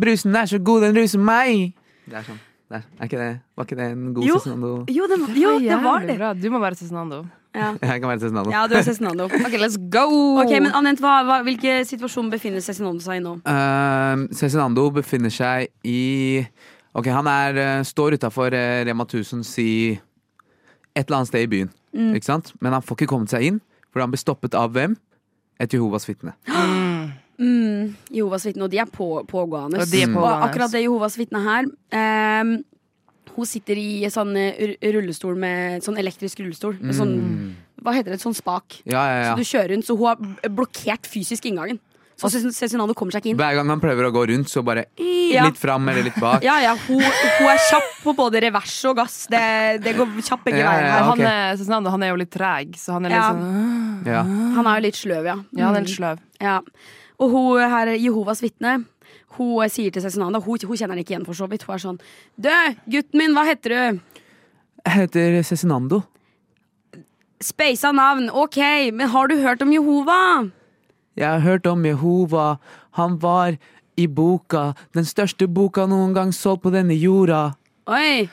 [SPEAKER 3] Brusen er så god, den ruser meg! Det er sånn. Det er, er ikke det, var ikke det en god
[SPEAKER 2] Jo.
[SPEAKER 3] Cezinando?
[SPEAKER 2] Jo, det, var
[SPEAKER 1] Jævlig
[SPEAKER 2] det.
[SPEAKER 1] Bra. Du må være Cezinando.
[SPEAKER 2] Ja,
[SPEAKER 3] Jeg kan være Cezinando.
[SPEAKER 2] ja du er Cezinando.
[SPEAKER 1] OK, let's go!
[SPEAKER 2] Ok, men Anette, hva, hva, hvilke situasjon befinner Cezinando seg i nå?
[SPEAKER 3] Ehm, Cezinando befinner seg i Ok, han er, eh, står utafor Rema 1000 si et eller annet sted i byen.
[SPEAKER 2] Mm.
[SPEAKER 3] Ikke sant? Men han får ikke kommet seg inn, for han blir stoppet av hvem? Et Jehovas vitne.
[SPEAKER 2] Mm, Jehovas vitne, og de er på, pågående.
[SPEAKER 1] Og de er pågående.
[SPEAKER 2] Og akkurat det Jehovas vitne her ehm, Hun sitter i en sånn eh, ru- rullestol med sånn elektrisk rullestol. Med sånn,
[SPEAKER 1] Mm.
[SPEAKER 2] hva heter det? Sånn spak.
[SPEAKER 3] Ja, ja,
[SPEAKER 2] Så
[SPEAKER 3] ja.
[SPEAKER 2] du kjører rundt, så hun har b- blokkert fysisk inngangen. Så Cez- Cezinando kommer seg ikke inn.
[SPEAKER 3] Hver gang han prøver å gå rundt, så bare
[SPEAKER 2] Ja.
[SPEAKER 3] litt fram eller litt bak.
[SPEAKER 2] Ja, ja, hun, hun er kjapp på både revers og gass. Det, det går kjapp begge
[SPEAKER 3] Ja,
[SPEAKER 2] veier
[SPEAKER 3] ja,
[SPEAKER 2] her.
[SPEAKER 3] ok.
[SPEAKER 1] han, er, Cezinando, han er jo litt treg, så han er litt
[SPEAKER 2] Ja.
[SPEAKER 1] sånn
[SPEAKER 3] Ja.
[SPEAKER 2] Han er jo litt sløv, ja.
[SPEAKER 1] Ja, han er litt sløv.
[SPEAKER 2] Ja. Og hun her, Jehovas vitne, hun sier til Cezinando hun, hun kjenner han ikke igjen, for så vidt. Hun er sånn Du, gutten min, hva heter du?
[SPEAKER 3] Jeg heter Cezinando.
[SPEAKER 2] Speisa navn. Ok, men har du hørt om Jehova?
[SPEAKER 3] Jeg har hørt om Jehova. Han var i boka. Den største boka noen gang solgt på denne jorda.
[SPEAKER 2] Oi.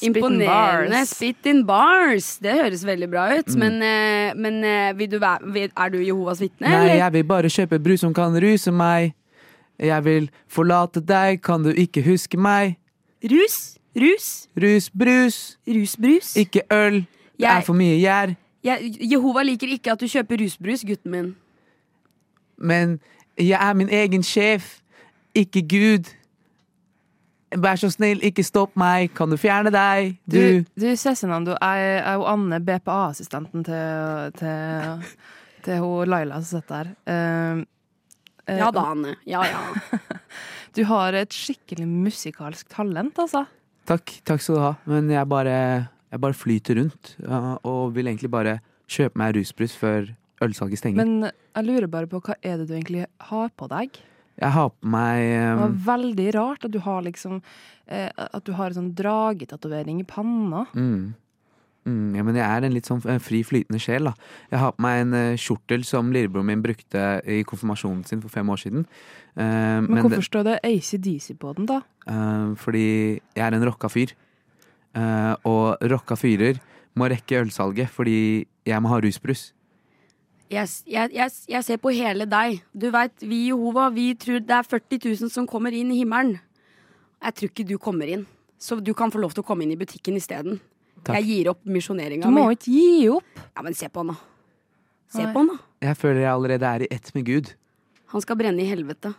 [SPEAKER 2] Imponerende.
[SPEAKER 1] bars. Mm.
[SPEAKER 2] Spit in bars. Det høres veldig bra ut. Men, eh, men eh, vil du være, vil, er du Jehovas vitne?
[SPEAKER 3] Nei,
[SPEAKER 2] eller?
[SPEAKER 3] jeg vil bare kjøpe brus som kan ruse meg. Jeg vil forlate deg, kan du ikke huske meg?
[SPEAKER 2] Rus? Rus?
[SPEAKER 3] Rus, brus,
[SPEAKER 2] Rusbrus?
[SPEAKER 3] ikke øl. Det
[SPEAKER 2] Jeg-
[SPEAKER 3] er for mye gjær.
[SPEAKER 2] Jeg, Jehova liker ikke at du kjøper rusbrus, gutten min.
[SPEAKER 3] Men jeg er min egen sjef, ikke Gud. Vær så snill, ikke stopp meg. Kan du fjerne deg,
[SPEAKER 1] Du,
[SPEAKER 3] du?
[SPEAKER 1] du Cezinando, jeg jeg er jo Anne, BPA-assistenten til, til, til hun Laila som sitter her. Eh, eh,
[SPEAKER 2] Ja da, Anne. Ja, ja.
[SPEAKER 1] Du har et skikkelig musikalsk talent, altså.
[SPEAKER 3] Takk, takk skal du ha. Men jeg bare, jeg bare flyter rundt. ja, Og vil egentlig bare kjøpe meg rusbrus før ølsalget stenger.
[SPEAKER 1] Men jeg lurer bare på hva er det du egentlig har på deg?
[SPEAKER 3] jeg har på meg
[SPEAKER 1] Det var
[SPEAKER 3] um,
[SPEAKER 1] veldig rart at du har liksom eh, At du har en sånn dragetatovering i panna.
[SPEAKER 3] mm, Mm, ja, men jeg er en litt sånn eh, fri flytende sjel, da. Jeg har på meg en eh, kjortel som lillebroren min brukte i konfirmasjonen sin for fem år siden. Eh, men
[SPEAKER 1] Men
[SPEAKER 3] den-
[SPEAKER 1] hvorfor står det ACDC på den, da?
[SPEAKER 3] Eh, fordi jeg er en rocka fyr. Eh, og rocka fyrer må rekke ølsalget fordi jeg må ha rusbrus.
[SPEAKER 2] Jeg, jeg, jeg, jeg ser på hele deg. Du veit, vi i Jehova, vi tror det er 40 000 som kommer inn i himmelen. Jeg tror ikke du kommer inn, så du kan få lov til å komme inn i butikken isteden.
[SPEAKER 3] Takk.
[SPEAKER 2] Jeg gir opp misjoneringa
[SPEAKER 1] Du må
[SPEAKER 2] mi.
[SPEAKER 1] ikke gi opp.
[SPEAKER 2] Ja, men se på han, da. Se
[SPEAKER 1] Nei.
[SPEAKER 2] på han, da.
[SPEAKER 3] Jeg føler jeg allerede er i ett med Gud.
[SPEAKER 2] Han skal brenne i helvete.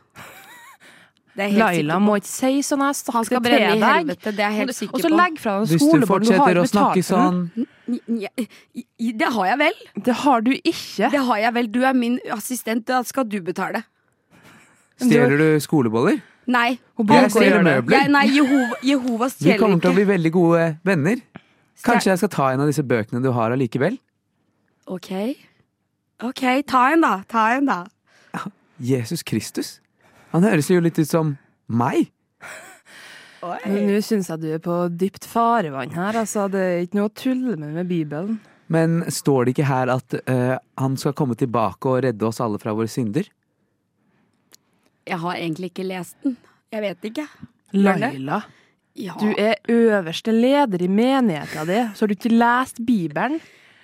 [SPEAKER 2] Det er jeg helt
[SPEAKER 1] Laila
[SPEAKER 2] sikker på.
[SPEAKER 1] må ikke si sånn. Jeg har
[SPEAKER 2] Han
[SPEAKER 1] sagt
[SPEAKER 2] skal
[SPEAKER 1] det til
[SPEAKER 2] brenne i
[SPEAKER 1] deg.
[SPEAKER 2] helvete, det er jeg helt sikker
[SPEAKER 1] Og så
[SPEAKER 2] på.
[SPEAKER 1] legg fra deg
[SPEAKER 3] Hvis du
[SPEAKER 1] skolebånd. Du har
[SPEAKER 3] fortsetter å
[SPEAKER 1] ikke
[SPEAKER 3] snakke
[SPEAKER 1] betalt for den.
[SPEAKER 3] sånn
[SPEAKER 2] Nja, i- i- Det har jeg vel.
[SPEAKER 1] Det har du ikke.
[SPEAKER 2] Det har jeg vel. Du er min assistent, da skal du betale.
[SPEAKER 3] Stjeler du skoleboller?
[SPEAKER 2] Nei.
[SPEAKER 1] går
[SPEAKER 3] Jeg
[SPEAKER 1] og gjør
[SPEAKER 3] stjeler
[SPEAKER 1] det.
[SPEAKER 2] Jeg,
[SPEAKER 3] møbler.
[SPEAKER 2] nei Jehova, Jehovas
[SPEAKER 3] Vi kommer til å
[SPEAKER 2] kjæledyr.
[SPEAKER 3] bli veldig gode venner. Kanskje jeg skal ta en av disse bøkene du har allikevel?
[SPEAKER 2] OK. OK, ta en, da. Ta en, da.
[SPEAKER 3] Jesus Kristus. Han høres jo litt ut som meg.
[SPEAKER 1] Men Nå syns jeg du er på dypt farevann her. Altså, det er ikke noe å tulle med med Bibelen.
[SPEAKER 3] Men står det ikke her at eh, han skal komme tilbake og redde oss alle fra våre synder?
[SPEAKER 2] Jeg har egentlig ikke lest den. Jeg vet ikke.
[SPEAKER 1] Laila,
[SPEAKER 2] Ja.
[SPEAKER 1] du er øverste leder i menigheta di, så har du ikke lest Bibelen?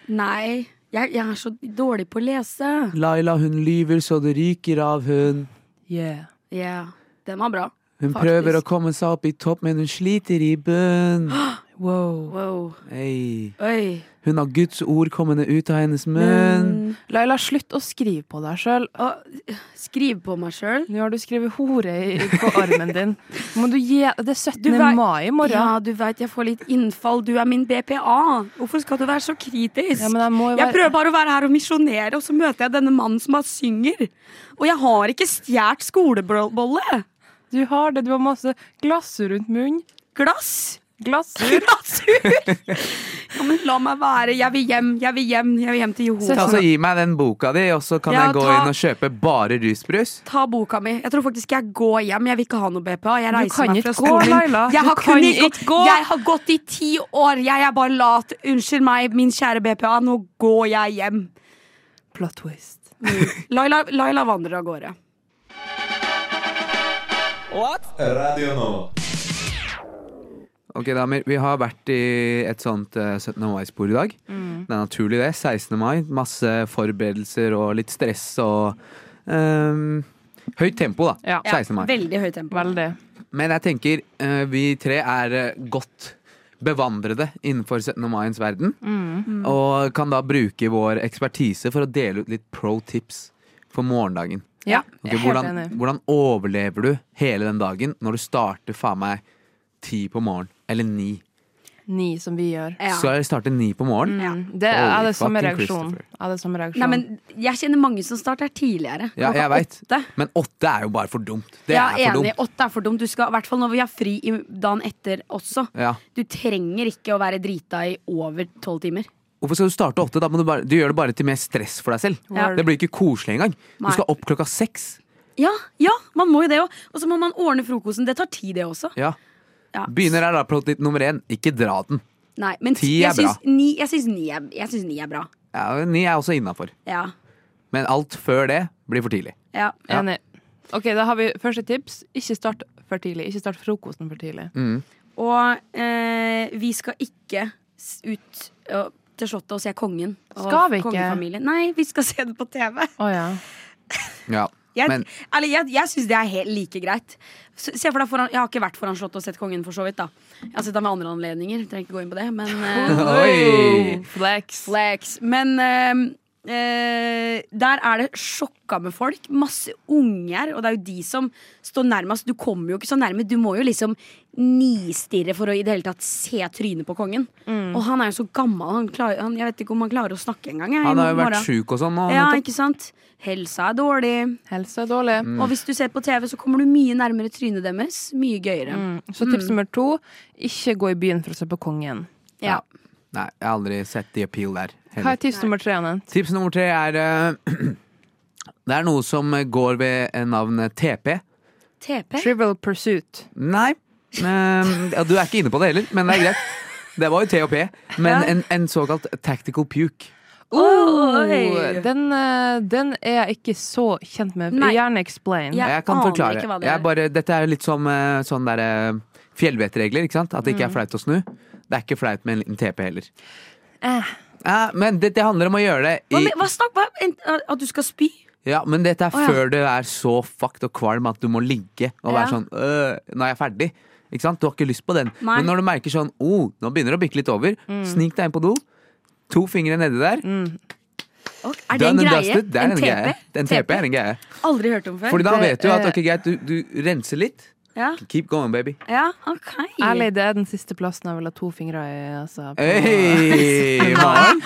[SPEAKER 2] Nei. Jeg, jeg er så dårlig på å lese.
[SPEAKER 3] Laila, hun lyver så det ryker av hun.
[SPEAKER 1] Yeah.
[SPEAKER 2] Ja. Den var bra.
[SPEAKER 3] Hun
[SPEAKER 2] Faktisk.
[SPEAKER 3] prøver å komme seg opp i topp, men hun sliter i bunn.
[SPEAKER 1] Wow.
[SPEAKER 2] Wow.
[SPEAKER 3] Ei.
[SPEAKER 2] Oi.
[SPEAKER 3] Hun har Guds ord kommende ut av hennes munn.
[SPEAKER 1] Laila, slutt å skrive på deg sjøl.
[SPEAKER 2] Å, skriv på meg sjøl.
[SPEAKER 1] Nå har du skrevet 'hore' i- på armen din. Må du gi, det er 17.
[SPEAKER 2] Du vei-
[SPEAKER 1] mai i morgen.
[SPEAKER 2] Ja, du veit jeg får litt innfall. Du er min BPA. Hvorfor skal du være så kritisk?
[SPEAKER 1] Ja, men jeg må jo være-
[SPEAKER 2] Jeg prøver bare å være her og misjonere, og så møter jeg denne mannen som bare synger. Og jeg har ikke stjålet skolebolle.
[SPEAKER 1] Du har det. Du har masse glassur rundt munnen.
[SPEAKER 2] Glass.
[SPEAKER 1] Glassur.
[SPEAKER 2] Glasur! Ja, men la meg være. Jeg vil hjem, jeg vil hjem, jeg vil hjem til
[SPEAKER 3] Ta,
[SPEAKER 2] Jehova.
[SPEAKER 3] så gi meg den boka di, og så kan
[SPEAKER 2] Ja,
[SPEAKER 3] jeg gå
[SPEAKER 2] ta-
[SPEAKER 3] inn og kjøpe bare rusbrus.
[SPEAKER 2] Ta boka mi. Jeg tror faktisk jeg går hjem. Jeg vil ikke ha noe BPA. Jeg
[SPEAKER 1] Du
[SPEAKER 2] reiser
[SPEAKER 1] kan
[SPEAKER 2] meg
[SPEAKER 1] ikke
[SPEAKER 2] fra
[SPEAKER 1] gå,
[SPEAKER 2] stolen.
[SPEAKER 1] Laila.
[SPEAKER 2] Jeg
[SPEAKER 1] Du
[SPEAKER 2] har
[SPEAKER 1] kan
[SPEAKER 2] kunnet
[SPEAKER 1] ikke gå.
[SPEAKER 2] Jeg har gått i ti år. Jeg er bare lat. Unnskyld meg, min kjære BPA. Nå går jeg hjem.
[SPEAKER 1] Plot twist.
[SPEAKER 2] Mm. Laila, Laila vandrer av gårde.
[SPEAKER 4] Radio Nova.
[SPEAKER 3] Ok, damer, vi har vært i et sånt eh, 17. mai-spor i dag. Det er naturlig, det. 16. mai. Masse forberedelser og litt stress og ehm, Høyt tempo,
[SPEAKER 1] Ja.
[SPEAKER 3] da. 16. mai.
[SPEAKER 2] Veldig høyt tempo.
[SPEAKER 1] Veldig.
[SPEAKER 3] Men jeg tenker eh, vi tre er eh, godt bevandrede innenfor 17. maiens verden. Og kan da bruke vår ekspertise for å dele ut litt pro tips for morgendagen.
[SPEAKER 1] Ja,
[SPEAKER 3] Ok,
[SPEAKER 1] jeg er helt
[SPEAKER 3] hvordan,
[SPEAKER 1] enig.
[SPEAKER 3] hvordan overlever du hele den dagen når du starter faen meg ti på morgenen? Eller ni.
[SPEAKER 1] Ni, som vi gjør.
[SPEAKER 2] Ja.
[SPEAKER 3] Så jeg starter ni på morgenen.
[SPEAKER 1] Mm, Det er
[SPEAKER 3] Holy
[SPEAKER 1] det samme
[SPEAKER 3] fucking
[SPEAKER 1] reaksjonen.
[SPEAKER 3] Christopher.
[SPEAKER 1] Er det samme reaksjon.
[SPEAKER 2] Nei, men jeg kjenner mange som starter tidligere.
[SPEAKER 3] Ja,
[SPEAKER 2] Klokka
[SPEAKER 3] jeg vet.
[SPEAKER 2] åtte.
[SPEAKER 3] Men åtte er jo bare for dumt. Det
[SPEAKER 2] ja,
[SPEAKER 3] er for
[SPEAKER 2] enig.
[SPEAKER 3] dumt.
[SPEAKER 2] Åtte er for dumt. Du skal, I hvert fall når vi har fri i dagen etter også.
[SPEAKER 3] Ja.
[SPEAKER 2] Du trenger ikke å være drita i over tolv timer.
[SPEAKER 3] Hvorfor skal du starte åtte? Da må du, bare, du gjør det bare til mer stress for deg selv.
[SPEAKER 2] Ja.
[SPEAKER 3] Det blir ikke koselig engang. Du
[SPEAKER 2] Nei.
[SPEAKER 3] skal opp klokka seks.
[SPEAKER 2] Ja, ja man må jo det òg. Og så må man ordne frokosten. Det tar tid, det også.
[SPEAKER 3] Ja.
[SPEAKER 2] Ja.
[SPEAKER 3] Begynner her da, plott litt nummer én. Ikke dra den.
[SPEAKER 2] Nei, men
[SPEAKER 3] Ti er
[SPEAKER 2] jeg syns
[SPEAKER 3] bra.
[SPEAKER 2] ni, jeg syns ni, er- jeg syns ni er bra.
[SPEAKER 3] Ja, ni er også innafor.
[SPEAKER 2] Ja.
[SPEAKER 3] Men alt før det blir for tidlig.
[SPEAKER 2] ja.
[SPEAKER 3] Ja.
[SPEAKER 1] Enig. Ok, Da har vi første tips. Ikke start for tidlig. Ikke start frokosten for tidlig.
[SPEAKER 3] Mm.
[SPEAKER 2] Og eh, vi skal ikke s- ut ø, til Slottet og se Kongen. Og
[SPEAKER 1] Skal vi ikke?
[SPEAKER 2] kongefamilien. Nei, vi skal se det på TV.
[SPEAKER 1] Å ja.
[SPEAKER 3] Ja.
[SPEAKER 2] Jeg,
[SPEAKER 3] Men-
[SPEAKER 2] eller jeg, jeg syns det er helt like greit. S- Se for deg foran, Jeg har ikke vært foran Slottet og sett Kongen, for så vidt. da Jeg har sett ham ved andre anledninger. Trenger ikke gå inn på det. Men, eh,
[SPEAKER 3] Oi!
[SPEAKER 1] Flex.
[SPEAKER 2] flex. men eh, eh, der er det sjokka med folk. Masse unger. Og det er jo de som står nærmest. Du kommer jo ikke så nærme. Du må jo liksom nistirre for å i det hele tatt se trynet på kongen. Og han er jo så gammel. Han klarer, han, jeg vet ikke om han klarer å snakke engang. jeg, i
[SPEAKER 3] Han har jo vært
[SPEAKER 2] morgen.
[SPEAKER 3] sjuk og sånn nå.
[SPEAKER 2] Ja,
[SPEAKER 3] nettopp.
[SPEAKER 2] ikke sant? Helsa er dårlig.
[SPEAKER 1] Helse er dårlig.
[SPEAKER 3] Mm.
[SPEAKER 2] Og hvis du ser på TV, så kommer du mye nærmere trynet deres. Mye gøyere.
[SPEAKER 3] Mm.
[SPEAKER 1] Så tips nummer to ikke gå i byen for å se på kongen.
[SPEAKER 2] Ja.
[SPEAKER 3] Nei, jeg har aldri sett the appeal der.
[SPEAKER 1] Hva
[SPEAKER 3] heller.
[SPEAKER 1] er tips nummer tre? Anette?
[SPEAKER 3] Tips nummer tre er eh, Det er noe som går ved navnet TP.
[SPEAKER 2] TP?
[SPEAKER 1] Trivial pursuit.
[SPEAKER 3] Ehm, Nei. Eh, ja, du er ikke inne på det heller, men det er greit. Det var jo TOP, men en, en såkalt tactical puke.
[SPEAKER 2] Oi.
[SPEAKER 1] den, eh, den er jeg ikke så kjent med.
[SPEAKER 2] Nei.
[SPEAKER 1] Gjerne explain.
[SPEAKER 2] Ja. Jeg
[SPEAKER 3] Jeg kan
[SPEAKER 2] aner
[SPEAKER 3] forklare.
[SPEAKER 2] ikke hva det
[SPEAKER 3] Jeg
[SPEAKER 2] er.
[SPEAKER 3] bare, dette er jo litt som eh, sånn der eh, fjellvettregler, ikke sant? At det ikke er
[SPEAKER 2] Mm.
[SPEAKER 3] flaut å snu. Det er ikke flaut med en liten TP heller. Eh, men det, det handler om å gjøre det
[SPEAKER 2] Hva,
[SPEAKER 3] i
[SPEAKER 2] men- hva snakk, hva, en, at du skal spy?
[SPEAKER 3] Ja, men dette er
[SPEAKER 2] Å, ja.
[SPEAKER 3] før du er så fucked og kvalm at du må ligge og
[SPEAKER 2] Ja.
[SPEAKER 3] være sånn øh, Nå er jeg ferdig. Ikke sant? Du har ikke lyst på den.
[SPEAKER 2] Nei. Mm.
[SPEAKER 3] Men når du merker sånn oh, nå begynner det å bikke litt over, snik deg inn på do. To fingre nedi der.
[SPEAKER 2] Ok, Mm. Er det en
[SPEAKER 3] done and
[SPEAKER 2] greie?
[SPEAKER 3] dusted. Det er en, greie. En TP er en greie.
[SPEAKER 2] Aldri hørt om før.
[SPEAKER 3] Fordi da
[SPEAKER 1] Det
[SPEAKER 3] vet du at
[SPEAKER 2] eh.
[SPEAKER 1] er-
[SPEAKER 3] ok, greit, du, du renser litt.
[SPEAKER 2] Ja,
[SPEAKER 3] Keep going, baby.
[SPEAKER 2] ja ok.
[SPEAKER 1] Ærlig, det er den siste plassen jeg vil ha to fingre i. Altså,
[SPEAKER 3] Eh.
[SPEAKER 1] på-
[SPEAKER 3] Hey, Maren.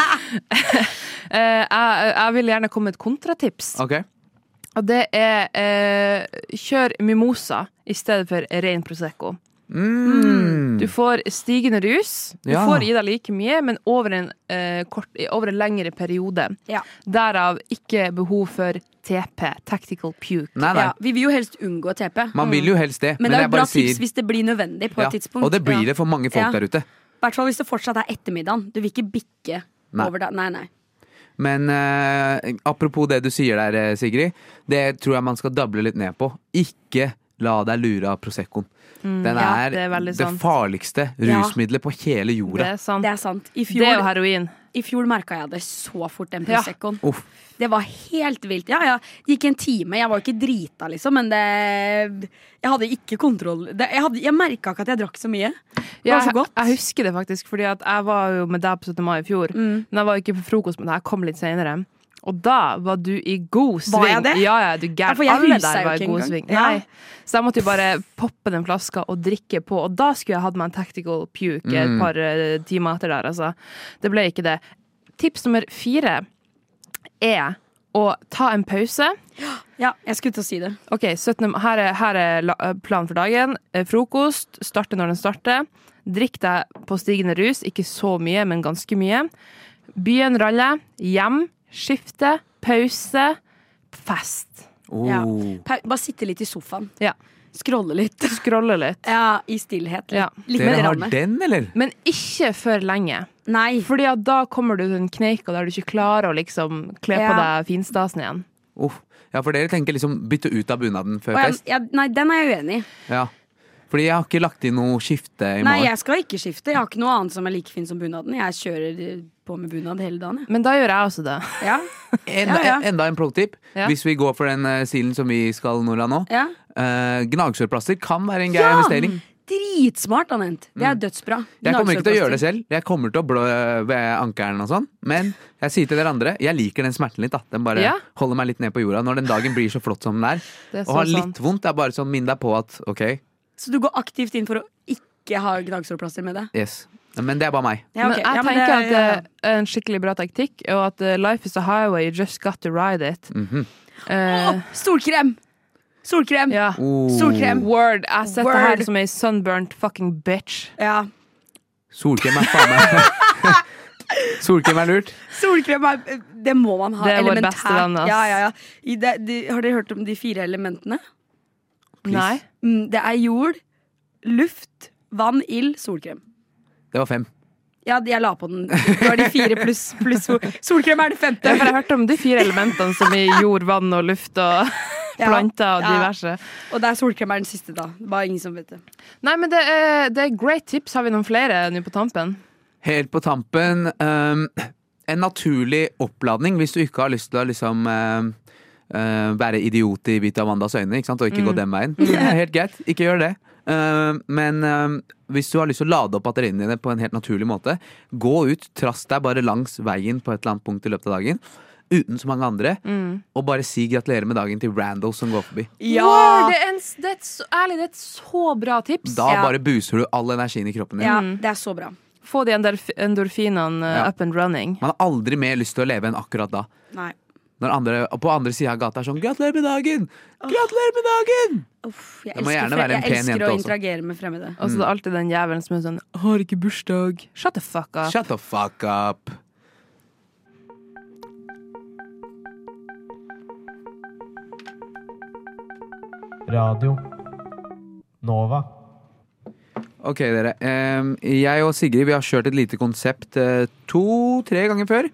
[SPEAKER 1] Eh, jeg, jeg vil gjerne komme med et kontratips.
[SPEAKER 3] ok,
[SPEAKER 1] Og det er eh, kjør mimosa i stedet for ren prosecco.
[SPEAKER 3] Mm.
[SPEAKER 1] Du får stigende rus. Du
[SPEAKER 3] Ja.
[SPEAKER 1] får i deg like mye, men over en, eh, kort, over en lengre periode.
[SPEAKER 2] Ja.
[SPEAKER 1] Derav ikke behov for TP, tactical puke.
[SPEAKER 3] Nei, nei.
[SPEAKER 2] Ja, vi vil jo helst unngå TP.
[SPEAKER 3] Man vil jo helst det,
[SPEAKER 2] Men det er
[SPEAKER 3] jeg
[SPEAKER 2] et bra
[SPEAKER 3] bare sier
[SPEAKER 2] tips hvis det blir nødvendig på
[SPEAKER 3] Ja,
[SPEAKER 2] et tidspunkt.
[SPEAKER 3] Og det blir
[SPEAKER 2] Ja.
[SPEAKER 3] det for mange folk
[SPEAKER 2] Ja.
[SPEAKER 3] der ute.
[SPEAKER 2] I hvert fall hvis det fortsatt er ettermiddagen. Du vil ikke bikke
[SPEAKER 3] Nei.
[SPEAKER 2] over da. Nei, nei.
[SPEAKER 3] Men eh, apropos det du sier der, eh, Sigrid. Det tror jeg man skal dable litt ned på. Ikke la deg lure av Proseccoen. Den
[SPEAKER 1] ja,
[SPEAKER 3] er
[SPEAKER 1] det
[SPEAKER 3] det,
[SPEAKER 1] er veldig sant.
[SPEAKER 3] farligste
[SPEAKER 2] Ja.
[SPEAKER 3] rusmiddelet på hele
[SPEAKER 1] Det
[SPEAKER 3] jorda.
[SPEAKER 1] er sant.
[SPEAKER 2] Det er sant. I
[SPEAKER 1] Det er jo
[SPEAKER 2] fjor,
[SPEAKER 1] heroin.
[SPEAKER 2] i fjor merka jeg det så fort, den
[SPEAKER 1] Ja.
[SPEAKER 2] Proseccoen.
[SPEAKER 3] Uff.
[SPEAKER 2] Det var helt vilt. Ja, ja. Det gikk en time. Jeg var jo ikke drita, liksom, men det Jeg hadde ikke kontroll. Det, jeg hadde- jeg merka ikke at jeg drakk så mye. Det var
[SPEAKER 1] Jeg,
[SPEAKER 2] så godt.
[SPEAKER 1] jeg husker det faktisk, fordi at jeg var jo med deg på 17. mai i fjor.
[SPEAKER 2] Mm.
[SPEAKER 1] Men jeg var jo ikke på frokost med deg, jeg kom litt senere. Og da var du i god sving.
[SPEAKER 2] Var jeg det?
[SPEAKER 1] Ja, ja, du
[SPEAKER 2] Ja,
[SPEAKER 1] gæren.
[SPEAKER 2] for jeg
[SPEAKER 1] Alle
[SPEAKER 2] huset
[SPEAKER 1] der
[SPEAKER 2] jo
[SPEAKER 1] var
[SPEAKER 2] ikke
[SPEAKER 1] i god
[SPEAKER 2] engang.
[SPEAKER 1] sving.
[SPEAKER 2] Ja.
[SPEAKER 1] Nei. Så jeg måtte jo bare poppe den flaska og drikke på. Og da skulle jeg hatt meg en tactical puke et par eh, timer etter der, altså. Det ble ikke det. Tips nummer fire er å ta en pause.
[SPEAKER 2] Ja, jeg skulle til å si det.
[SPEAKER 1] Ok, 17, her, er, her er la- planen for dagen. Eh, Frokost. Starte når den starter. Drikk deg på stigende rus. Ikke så mye, men ganske mye. By en ralle. Hjem. Skifte. Pause. Fest.
[SPEAKER 3] Oh.
[SPEAKER 2] Ja. Pa- Bare sitte litt i sofaen.
[SPEAKER 1] Ja.
[SPEAKER 2] Scrolle litt.
[SPEAKER 1] Scrolle litt.
[SPEAKER 2] Ja, I stillhet.
[SPEAKER 1] Ja.
[SPEAKER 2] Litt
[SPEAKER 3] Dere
[SPEAKER 2] med
[SPEAKER 3] har
[SPEAKER 2] ramme.
[SPEAKER 3] den, eller?
[SPEAKER 1] Men ikke for lenge.
[SPEAKER 2] Nei.
[SPEAKER 1] Fordi at da kommer du til den kneika der du ikke klarer å liksom kle på
[SPEAKER 2] Ja.
[SPEAKER 1] deg finstasen igjen.
[SPEAKER 3] Uff. Ja, for dere tenker liksom bytte ut av bunaden før
[SPEAKER 2] Og jeg,
[SPEAKER 3] fest?
[SPEAKER 2] jeg, nei, den er jeg uenig i.
[SPEAKER 3] Ja. Fordi jeg har ikke lagt inn noe skifte
[SPEAKER 2] Nei,
[SPEAKER 3] i morgen.
[SPEAKER 2] jeg skal ikke skifte. Jeg har ikke noe annet som er like fin som bunaden. Jeg kjører eh, på med bunad hele dagen. jeg.
[SPEAKER 1] Men da gjør jeg også det.
[SPEAKER 2] Ja,
[SPEAKER 3] Enda,
[SPEAKER 2] Ja, ja.
[SPEAKER 3] enda en pro-tip.
[SPEAKER 1] Ja.
[SPEAKER 3] Hvis vi går for den eh, stilen som vi skal, Nora, nå.
[SPEAKER 2] ja.
[SPEAKER 3] Eh, gnagsårplaster kan være en grei
[SPEAKER 2] Ja!
[SPEAKER 3] investering.
[SPEAKER 2] Dritsmart, Anent. Det er dødsbra.
[SPEAKER 3] Mm. Jeg kommer ikke til å gjøre det selv. Jeg kommer til å blø ved ankelen og sånn. Men jeg sier til dere andre, jeg liker den smerten litt. Da. Den bare
[SPEAKER 1] Ja.
[SPEAKER 3] holder meg litt ned på jorda når den dagen blir så flott som den er.
[SPEAKER 1] Det er
[SPEAKER 3] Og
[SPEAKER 1] så
[SPEAKER 3] har litt
[SPEAKER 1] sant.
[SPEAKER 3] vondt. Det er bare sånn, minn deg på at ok,
[SPEAKER 2] Så du går aktivt inn for å ikke ha gnagsårplaster med deg?
[SPEAKER 3] yes. Men det er bare meg.
[SPEAKER 2] Ja,
[SPEAKER 1] Men
[SPEAKER 2] ok.
[SPEAKER 1] jeg
[SPEAKER 2] Ja, men
[SPEAKER 1] tenker
[SPEAKER 2] det- ja, ja.
[SPEAKER 1] at det er en skikkelig bra taktikk, og at eh, life is a highway, you just got to ride it.
[SPEAKER 3] Mhm.
[SPEAKER 1] Eh,
[SPEAKER 2] Å, Solkrem! Solkrem!
[SPEAKER 1] ja.
[SPEAKER 3] Oh,
[SPEAKER 2] Solkrem.
[SPEAKER 1] Word. Jeg setter
[SPEAKER 2] Word.
[SPEAKER 1] her som ei sunburnt fucking bitch.
[SPEAKER 2] Ja.
[SPEAKER 3] solkrem er faen meg Solkrem er lurt.
[SPEAKER 2] Solkrem er Det må man ha.
[SPEAKER 1] Det er vår
[SPEAKER 2] Elementært.
[SPEAKER 1] beste venn, ass.
[SPEAKER 2] Ja, ja, ja. I det, de, har dere hørt om de fire elementene?
[SPEAKER 3] Please.
[SPEAKER 1] Nei.
[SPEAKER 2] Mm, Det er jord, luft, vann, ild, solkrem.
[SPEAKER 3] Det var fem.
[SPEAKER 2] Ja, de- jeg la på den. Det var de fire pluss pluss sol. Solkrem er
[SPEAKER 1] Det
[SPEAKER 2] det femte.
[SPEAKER 1] er for jeg hørte om de fire elementene som i jord, vann og luft og
[SPEAKER 2] Ja.
[SPEAKER 1] planter og
[SPEAKER 2] Ja.
[SPEAKER 1] diverse.
[SPEAKER 2] Og der solkrem er den siste, da. Bare ingen som vet det.
[SPEAKER 1] Nei, men det er, det er great tips. Har vi noen flere nå på tampen?
[SPEAKER 3] Helt på tampen ehm, En naturlig oppladning hvis du ikke har lyst til å liksom ehm, eh, være idiot i Vita Amandas øyne ikke sant? og
[SPEAKER 2] Mm.
[SPEAKER 3] ikke gå den veien. Det er helt greit, ikke gjør det. Ehm, men ehm, hvis du har lyst til å lade opp batteriene dine på en helt naturlig måte, gå ut, trass deg bare langs veien på et eller annet punkt i løpet av dagen. Uten så mange andre,
[SPEAKER 2] Mm.
[SPEAKER 3] og bare si gratulerer med dagen til Randall som går forbi.
[SPEAKER 1] Wow, det, er en, det, er et, så- ærlig, det er et så bra tips.
[SPEAKER 3] Da
[SPEAKER 2] Ja.
[SPEAKER 3] bare buser du all energien i kroppen din.
[SPEAKER 2] Ja, det er så bra.
[SPEAKER 1] Få de endorf- endorfinene eh,
[SPEAKER 3] Ja.
[SPEAKER 1] up and running.
[SPEAKER 3] Man har aldri mer lyst til å leve enn akkurat da.
[SPEAKER 2] Nei.
[SPEAKER 3] Når andre, og på andre sida av gata er sånn 'Gratulerer med dagen!' Gratulerer med dagen!
[SPEAKER 2] Uff, jeg
[SPEAKER 3] Det må
[SPEAKER 2] elsker,
[SPEAKER 3] gjerne
[SPEAKER 2] fre-
[SPEAKER 3] være en
[SPEAKER 2] jeg
[SPEAKER 3] pen
[SPEAKER 2] elsker
[SPEAKER 3] jente
[SPEAKER 2] å
[SPEAKER 3] også.
[SPEAKER 2] interagere med fremmede.
[SPEAKER 1] Og så
[SPEAKER 3] Mm.
[SPEAKER 1] er det alltid den jævelen som er sånn 'Har ikke bursdag'. Shut the fuck up.
[SPEAKER 3] Shut the fuck up.
[SPEAKER 8] Radio Nova.
[SPEAKER 3] Ok, dere. Em, jeg og Sigrid vi har kjørt et lite konsept eh, to-tre ganger før.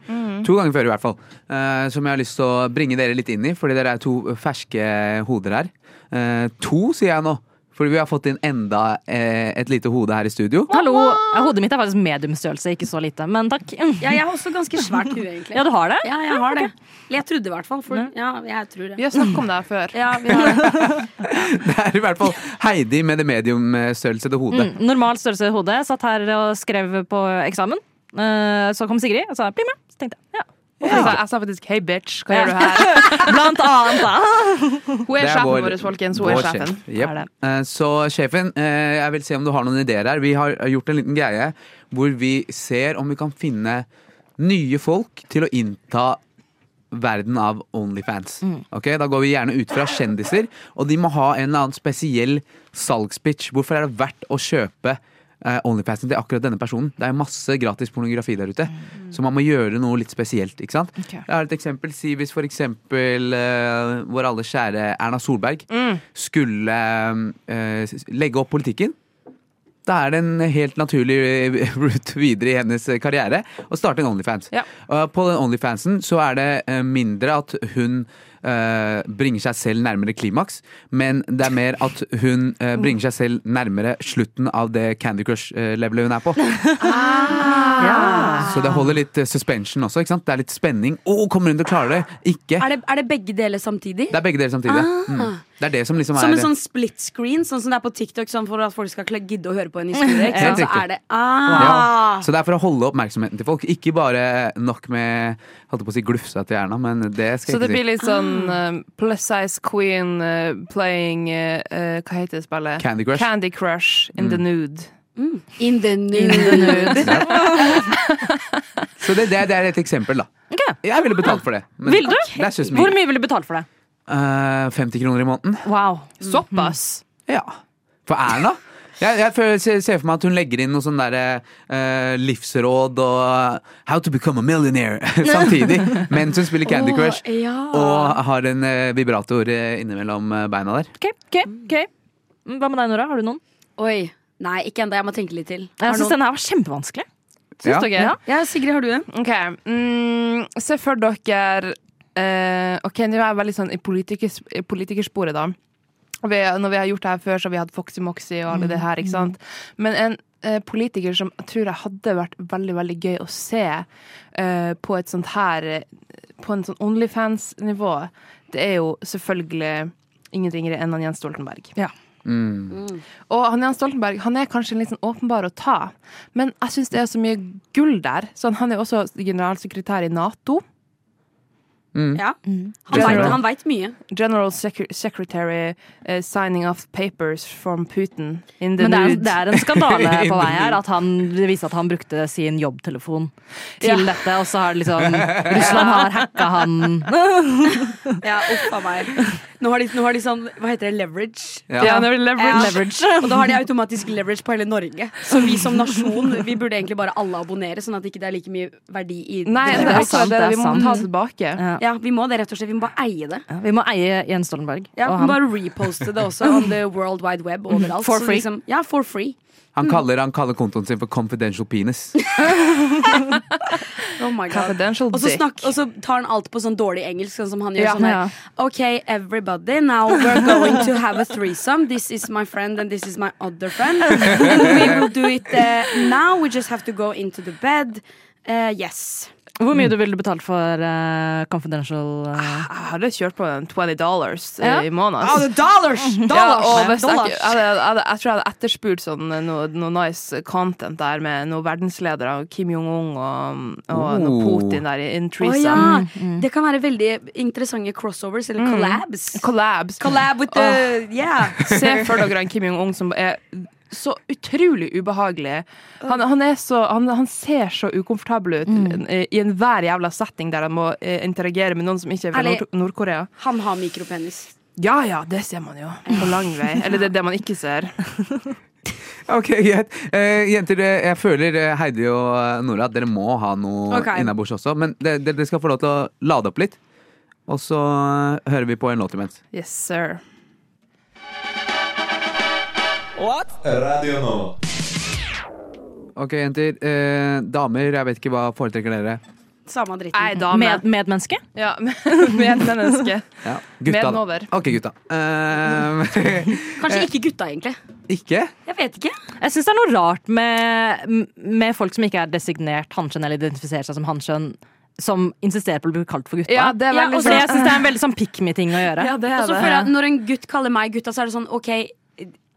[SPEAKER 3] To ganger før i hvert fall. Eh, som jeg har lyst til å bringe dere litt inn i, fordi dere er to ferske hoder her. Eh, to, sier jeg nå. Fordi vi har fått inn enda eh, et lite hode her i studio.
[SPEAKER 8] Hallo! Ja, Hodet mitt er faktisk mediumstørrelse, ikke så lite. Men takk.
[SPEAKER 2] Ja, jeg har også ganske svært hue, egentlig.
[SPEAKER 8] Ja, du har det?
[SPEAKER 2] Ja, jeg har det. Eller jeg trodde i hvert fall. For, ja, jeg tror
[SPEAKER 1] Vi
[SPEAKER 2] det.
[SPEAKER 1] har snakket om det her før.
[SPEAKER 2] Ja, vi har det.
[SPEAKER 3] Det er i hvert fall Heidi med det mediumstørrelsede hodet.
[SPEAKER 8] Mm, normal størrelse i hodet. Satt her og skrev på eksamen. Eh, Så kom Sigrid og sa 'bli med'. Så tenkte jeg ja.
[SPEAKER 1] Jeg, sa, jeg sa faktisk 'hei, bitch, hva gjør du her?'
[SPEAKER 8] Blant annet, da.
[SPEAKER 1] Hun er
[SPEAKER 3] Det er
[SPEAKER 1] sjefen
[SPEAKER 3] vår-
[SPEAKER 1] vår, folkens. Hun er
[SPEAKER 3] Vår
[SPEAKER 1] sjefen.
[SPEAKER 3] sjef. Jep.
[SPEAKER 8] Er det.
[SPEAKER 3] Eh, Så sjefen, eh, jeg vil se om du har noen ideer her. Vi har gjort en liten greie hvor vi ser om vi kan finne nye folk til å innta verden av Onlyfans. Ok, Da går vi gjerne ut fra kjendiser, og de må ha en eller annen spesiell salgspitch. Hvorfor er det verdt å kjøpe eh, Onlyfansen til akkurat denne personen? Det er masse gratis pornografi der ute, så man må gjøre noe litt spesielt. ikke sant? Jeg har et eksempel. Si hvis for eksempel eh, vår alle kjære Erna Solberg skulle eh, s- legge opp politikken. Da er det en helt naturlig eh, route videre i hennes karriere å starte en Onlyfans.
[SPEAKER 1] Ja.
[SPEAKER 3] Og på den Onlyfansen så er det eh, mindre at hun eh, bringer seg selv nærmere klimaks, men det er mer at hun eh, bringer seg selv nærmere slutten av det Candy Crush-levelet hun er på.
[SPEAKER 2] Ah.
[SPEAKER 3] Så det holder litt eh, suspension også. ikke sant? Det er litt spenning. Å, kommer hun til å klare det? Ikke.
[SPEAKER 2] Er, det, er det begge deler samtidig?
[SPEAKER 3] Det er begge deler samtidig. Mm. Det er det som liksom
[SPEAKER 2] Som
[SPEAKER 3] er
[SPEAKER 2] en sånn split screen, sånn som det er på TikTok sånn for at folk skal kla- gidde å høre på en historie. Ikke sant?
[SPEAKER 3] Helt
[SPEAKER 2] Så
[SPEAKER 3] riktig.
[SPEAKER 2] er det ah.
[SPEAKER 3] Ja. Så det er for å holde oppmerksomheten til folk. Ikke bare nok med holdt på å si glufsa til hjerna, men det skal
[SPEAKER 1] Så det
[SPEAKER 3] jeg
[SPEAKER 1] blir
[SPEAKER 3] ikke si.
[SPEAKER 1] litt sånn eh, plus size queen eh, playing eh, eh, Hva heter det spillet?
[SPEAKER 3] Candy Crush. Mm.
[SPEAKER 1] Candy Crush in the nude.
[SPEAKER 8] Mm.
[SPEAKER 2] In the new
[SPEAKER 3] Så det, det, det er et eksempel, da. Jeg ville betalt for det. Men
[SPEAKER 8] Vil du?
[SPEAKER 3] Det er ikke så
[SPEAKER 8] Hvor
[SPEAKER 3] mye.
[SPEAKER 8] mye vil du betale for det?
[SPEAKER 3] Eh, 50 kroner i måneden.
[SPEAKER 8] Wow.
[SPEAKER 1] Såpass!
[SPEAKER 3] Ja. For Erna? Jeg, jeg føler, ser, ser for meg at hun legger inn noe sånn derre eh, livsråd og How to become a millionaire samtidig, mens hun spiller Candy Crush
[SPEAKER 2] ja.
[SPEAKER 3] og har en eh, vibrator eh, innimellom eh, beina der.
[SPEAKER 8] Ok, ok, ok. Mm, Hva med deg, Nora? Har du noen?
[SPEAKER 2] Oi. Nei, ikke ennå. Jeg må tenke litt til. Har
[SPEAKER 8] Jeg syns
[SPEAKER 2] noen-
[SPEAKER 8] denne her var kjempevanskelig.
[SPEAKER 3] Ja.
[SPEAKER 1] Syns dere?
[SPEAKER 2] Ja, Sigrid, har du en?
[SPEAKER 1] Ok, mm, se for dere eh, Ok, nå er jeg veldig sånn i politikers, i politikersporet da Og vi, Når vi har gjort det her før, så har vi hatt Foxy Moxy og alle det her, ikke sant? Men en eh, politiker som jeg tror jeg hadde vært veldig, veldig gøy å se eh, På et sånt her eh, På en sånn OnlyFans-nivå Det er jo selvfølgelig ingen ringere enn han Jens Stoltenberg og han Jan Stoltenberg han er kanskje litt sånn åpenbar å ta, men jeg syns det er så mye gull der. Så han er jo også generalsekretær i Nato.
[SPEAKER 2] Ja. Han
[SPEAKER 1] General.
[SPEAKER 2] vet- Han veit mye.
[SPEAKER 1] General Secre- Secretary eh, signing off papers from Putin in the
[SPEAKER 8] Men det er,
[SPEAKER 1] nude.
[SPEAKER 8] det er en skandale på vei her. At han det viser at han brukte sin jobbtelefon til
[SPEAKER 1] Ja.
[SPEAKER 8] dette. Og så har det liksom Russland har hacka han.
[SPEAKER 2] Ja, uff a meg. Nå har, de, nå har de sånn Hva heter det? Leverage.
[SPEAKER 1] Ja, det er leverage.
[SPEAKER 2] Ja.
[SPEAKER 8] Leverage.
[SPEAKER 2] Og da har de automatisk leverage på hele Norge. Så vi som nasjon Vi burde egentlig bare alle abonnere, sånn at det ikke er like mye verdi i
[SPEAKER 1] Nei, det
[SPEAKER 2] det.
[SPEAKER 1] er akkurat
[SPEAKER 8] sant,
[SPEAKER 1] det.
[SPEAKER 8] det er
[SPEAKER 1] Vi må
[SPEAKER 8] sant.
[SPEAKER 1] ta det tilbake.
[SPEAKER 2] Ja, vi må det, rett og slett. Vi må bare eie det.
[SPEAKER 8] Vi må eie Jens Stoltenberg.
[SPEAKER 2] Ja,
[SPEAKER 8] og
[SPEAKER 2] vi må
[SPEAKER 8] han.
[SPEAKER 2] bare reposte det også on the world wide web overalt.
[SPEAKER 8] For
[SPEAKER 2] Så
[SPEAKER 8] free.
[SPEAKER 2] Liksom, ja, for free.
[SPEAKER 3] Han kaller, han kaller kontoen sin for confidential penis.
[SPEAKER 2] Oh my god.
[SPEAKER 1] Confidential
[SPEAKER 2] Og så,
[SPEAKER 1] dick.
[SPEAKER 2] snakk, og så tar han alt på sånn dårlig engelsk, sånn som han gjør.
[SPEAKER 1] sånn Ja,
[SPEAKER 2] sånn her
[SPEAKER 1] ja.
[SPEAKER 2] Ok, everybody, now we're going to have a threesome. This is my friend and this is my other friend. And we will do it eh, now. We just have to go into the bed. Eh, yes.
[SPEAKER 8] Hvor mye du ville betalt for eh, Confidential eh,
[SPEAKER 1] Jeg hadde kjørt på en 20 dollars eh,
[SPEAKER 8] Ja.
[SPEAKER 1] i måneden.
[SPEAKER 2] dollars!
[SPEAKER 1] Ja, og hvis jeg, ikke- jeg, hadde, jeg, hadde, jeg tror jeg hadde etterspurt sånn, eh, noe, noe nice content der med noen verdensledere, og Kim Jong-un og, og noe
[SPEAKER 3] Oh.
[SPEAKER 1] Putin der i in
[SPEAKER 2] Å
[SPEAKER 1] threesome.
[SPEAKER 2] ja. Oh, Det kan være veldig interessante crossovers eller collabs.
[SPEAKER 1] Collabs.
[SPEAKER 2] Collab with the Yeah.
[SPEAKER 1] Se for dere han Kim Jong-un som er så utrolig ubehagelig. Han, han, er så, han, han ser så ukomfortabel ut eh, i enhver jævla setting der han må eh, interagere med noen som ikke er fra
[SPEAKER 2] Ærlig.
[SPEAKER 1] Nord- Nord-Korea.
[SPEAKER 2] Han har mikropenis.
[SPEAKER 1] Ja ja, det ser man jo. På lang vei. Eller det er det man ikke ser.
[SPEAKER 3] Ok, greit. Eh, jenter, eh, jeg føler eh, Heidi og eh, Nora at dere må ha noe
[SPEAKER 2] Ok.
[SPEAKER 3] innabords også. Men de- de- dere skal få lov til å lade opp litt. Og så eh, hører vi på en låt imens.
[SPEAKER 1] Yes, sir.
[SPEAKER 4] Radio Nova.
[SPEAKER 3] Ok, jenter. Eh, damer, jeg vet ikke hva foretrekker dere.
[SPEAKER 2] Samme dritten.
[SPEAKER 1] Nei, dame.
[SPEAKER 8] Med, medmenneske?
[SPEAKER 1] ja, med menneske.
[SPEAKER 3] Ja, gutta,
[SPEAKER 1] Med
[SPEAKER 3] da.
[SPEAKER 1] den over.
[SPEAKER 3] Ok, gutta. Eh,
[SPEAKER 2] Kanskje ikke gutta, egentlig.
[SPEAKER 3] ikke?
[SPEAKER 2] Jeg vet ikke.
[SPEAKER 8] Jeg syns det er noe rart med, med folk som ikke er designert hanskjønn eller identifiserer seg som hanskjønn, som insisterer på å bli kalt for gutta.
[SPEAKER 1] Ja, det er
[SPEAKER 2] Ja,
[SPEAKER 1] veldig
[SPEAKER 8] og det, jeg synes det er en veldig sånn pick me-ting å gjøre.
[SPEAKER 1] Ja, det
[SPEAKER 2] Og
[SPEAKER 1] er
[SPEAKER 2] så
[SPEAKER 1] det.
[SPEAKER 2] føler jeg at Når en gutt kaller meg gutta, så er det sånn OK,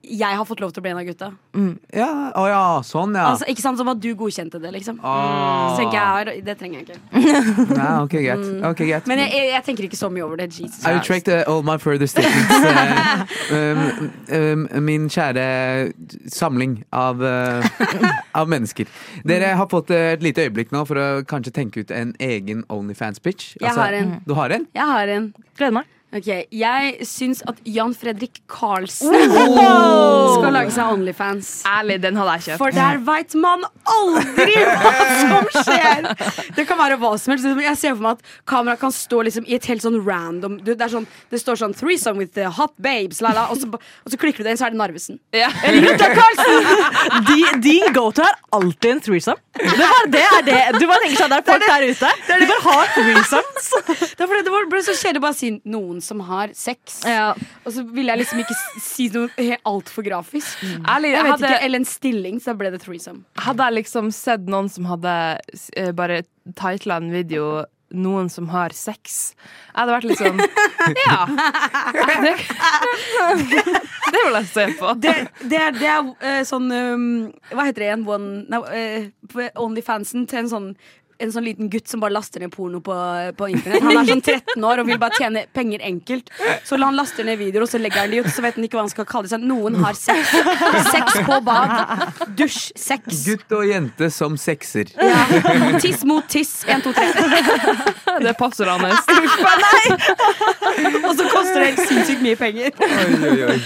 [SPEAKER 2] jeg har fått lov til å bli en av gutta.
[SPEAKER 3] Ja, å ja, sånn ja.
[SPEAKER 2] Altså, ikke sant, Som at du godkjente det, liksom.
[SPEAKER 3] Ah.
[SPEAKER 2] Så tenker jeg, ja, det trenger jeg ikke.
[SPEAKER 3] Ja, ok, greit. Ok, greit.
[SPEAKER 2] Men jeg, jeg, jeg tenker ikke så mye over det. Jesus
[SPEAKER 3] I
[SPEAKER 2] Christ.
[SPEAKER 3] retract uh, all my further statements. Eh, um, um, min kjære samling av, eh, av mennesker. Dere har fått eh, et lite øyeblikk nå for å kanskje tenke ut en egen Onlyfans-pitch.
[SPEAKER 2] Jeg har en.
[SPEAKER 3] mm. Du har en?
[SPEAKER 2] Jeg har en.
[SPEAKER 8] Gleder meg.
[SPEAKER 2] Ok, Jeg syns at Jan Fredrik Karlsen skal lage seg Onlyfans.
[SPEAKER 1] Ærlig, den hadde jeg kjøpt.
[SPEAKER 2] For der veit man aldri hva som skjer! Det kan være hva som helst. Jeg ser for meg at kameraet kan stå liksom i et helt sånn random du, det, er sånn, det står sånn 'threesome with the hot babes', la, la, og, så, ba- og så klikker du det inn, så er det Narvesen.
[SPEAKER 1] Ja.
[SPEAKER 8] Din, go-to er alltid en threesome. Det, var, det er det. Du bare tenker sånn, det er folk der ute. De bare har threesomes.
[SPEAKER 2] Det, er fordi det var- ble så kjedelig å bare si 'noen som har sex'. Og så ville jeg liksom ikke s- si noe helt altfor grafisk.
[SPEAKER 1] Ærlig,
[SPEAKER 2] Mm. Jeg
[SPEAKER 1] jeg
[SPEAKER 2] vet
[SPEAKER 1] hadde,
[SPEAKER 2] ikke, Eller en stilling, så da ble det threesome.
[SPEAKER 1] hadde jeg liksom sett noen som hadde eh, bare titla en video 'Noen som har sex', jeg hadde vært litt sånn Ja. Det, det vil jeg se på.
[SPEAKER 2] Det, det er, det er eh, sånn um, Hva heter det igjen? One, nei, eh, på Onlyfansen til en sånn en sånn liten gutt som bare laster ned porno på, på internett. Han er sånn 13 år og vil bare tjene penger enkelt. Så han laster ned videoer, og så legger han de ut. Så vet han ikke hva han skal kalle seg. Noen har sex. Sex på bad. Dusj. Sex.
[SPEAKER 3] Gutt og jente som sekser.
[SPEAKER 2] Ja. Tiss mot tiss. 1, 2, 3.
[SPEAKER 1] Det er passordet hans.
[SPEAKER 2] Og så koster det helt sinnssykt mye penger.
[SPEAKER 3] Oi, oi, oi.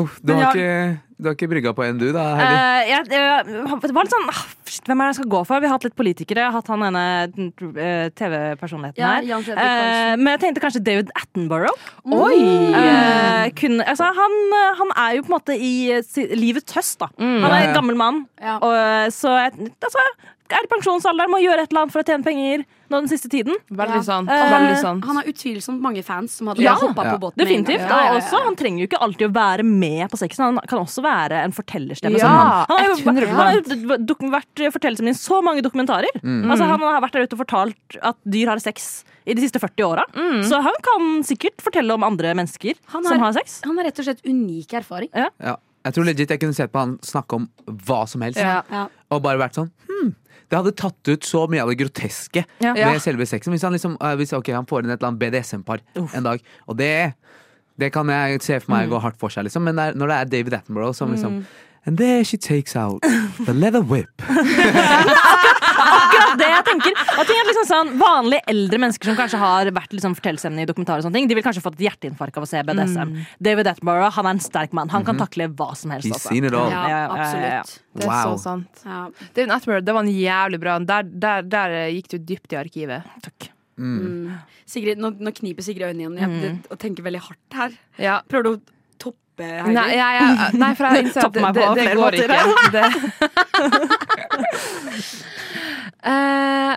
[SPEAKER 3] Uff, du,
[SPEAKER 2] Men
[SPEAKER 3] har
[SPEAKER 2] jeg-
[SPEAKER 3] ikke, du har ikke brygga på en, du da, Heidi?
[SPEAKER 8] Eh, jeg, jeg, det var litt sånn ah, shit, Hvem er det jeg skal gå for? Vi har hatt litt politikere. Jeg har hatt han ene eh, TV-personligheten
[SPEAKER 2] Ja,
[SPEAKER 8] her.
[SPEAKER 2] Jan Fredrik
[SPEAKER 8] Eh,
[SPEAKER 2] Karlsen.
[SPEAKER 8] men jeg tenkte kanskje David Attenborough.
[SPEAKER 1] Oi!
[SPEAKER 8] Eh, kun, altså, han, han er jo på en måte i eh, si- livets høst, da. Han
[SPEAKER 3] Ja,
[SPEAKER 8] er
[SPEAKER 3] ja.
[SPEAKER 8] en gammel mann.
[SPEAKER 2] Ja.
[SPEAKER 8] Og, eh, så jeg, altså, er i pensjonsalderen, må gjøre et eller annet for å tjene penger nå den siste tiden.
[SPEAKER 1] Veldig sant.
[SPEAKER 8] Eh,
[SPEAKER 1] Veldig sånn. sant.
[SPEAKER 2] Han har utvilsomt mange fans som hadde
[SPEAKER 8] Ja.
[SPEAKER 2] hoppa
[SPEAKER 3] Ja.
[SPEAKER 2] på båten. med en gang.
[SPEAKER 1] Ja,
[SPEAKER 8] Definitivt.
[SPEAKER 1] ja, ja.
[SPEAKER 8] Og også, han trenger jo ikke alltid å være med på sexen. Han kan også være en fortellerstemme.
[SPEAKER 1] Ja,
[SPEAKER 8] som han.
[SPEAKER 1] Mm.
[SPEAKER 8] Han har jo,
[SPEAKER 1] 100%.
[SPEAKER 8] han har jo d- dok- vært fortellerstemmen i så mange dokumentarer. Altså, han har vært der ute og fortalt at dyr har sex i de siste 40 åra. Så han kan sikkert fortelle om andre mennesker
[SPEAKER 2] Han har-
[SPEAKER 8] som har sex.
[SPEAKER 2] Han har rett og slett unik erfaring.
[SPEAKER 3] Ja. Jeg tror legit jeg kunne sett på han snakke om hva som helst.
[SPEAKER 1] Ja.
[SPEAKER 2] Ja.
[SPEAKER 3] Og bare vært sånn hmm, Det hadde tatt ut så mye av det groteske
[SPEAKER 8] Ja.
[SPEAKER 3] ved selve sexen. Hvis han liksom eh, hvis, ok, han får inn et eller annet BDSM-par en dag, og det det kan jeg se for
[SPEAKER 8] Mm.
[SPEAKER 3] meg gå hardt for seg, liksom. men det er, når det er David Attenborough som liksom And there she takes out the leather whip.
[SPEAKER 8] Akkurat det jeg tenker. Og ting er liksom sånn, Vanlige eldre mennesker som kanskje har vært liksom fortellerstemmene i dokumentarer, og sånne ting, de vil kanskje fått et hjerteinfarkt av å se BDSM. David Attenborough han er en sterk mann. Han kan takle hva som helst.
[SPEAKER 3] He's
[SPEAKER 8] altså.
[SPEAKER 3] seen it all.
[SPEAKER 8] ja,
[SPEAKER 2] Ja,
[SPEAKER 8] ja, ja.
[SPEAKER 2] absolutt.
[SPEAKER 1] Det er
[SPEAKER 3] Wow.
[SPEAKER 1] så sant.
[SPEAKER 2] Ja.
[SPEAKER 1] David Attenborough, det var en jævlig bra en. Der, der, der eh, gikk du dypt i arkivet. Takk.
[SPEAKER 2] Sigrid, nå, nå kniper Sigrid øynene igjen jeg, det, og tenker veldig hardt her.
[SPEAKER 1] Ja.
[SPEAKER 2] Prøver du å toppe Heidi?
[SPEAKER 1] Nei, jeg, jeg, nei, for jeg innser at
[SPEAKER 8] Tapp
[SPEAKER 1] det,
[SPEAKER 8] meg
[SPEAKER 1] det,
[SPEAKER 8] på
[SPEAKER 1] det
[SPEAKER 8] flere
[SPEAKER 1] går
[SPEAKER 8] måter.
[SPEAKER 1] ikke. Det. Eh,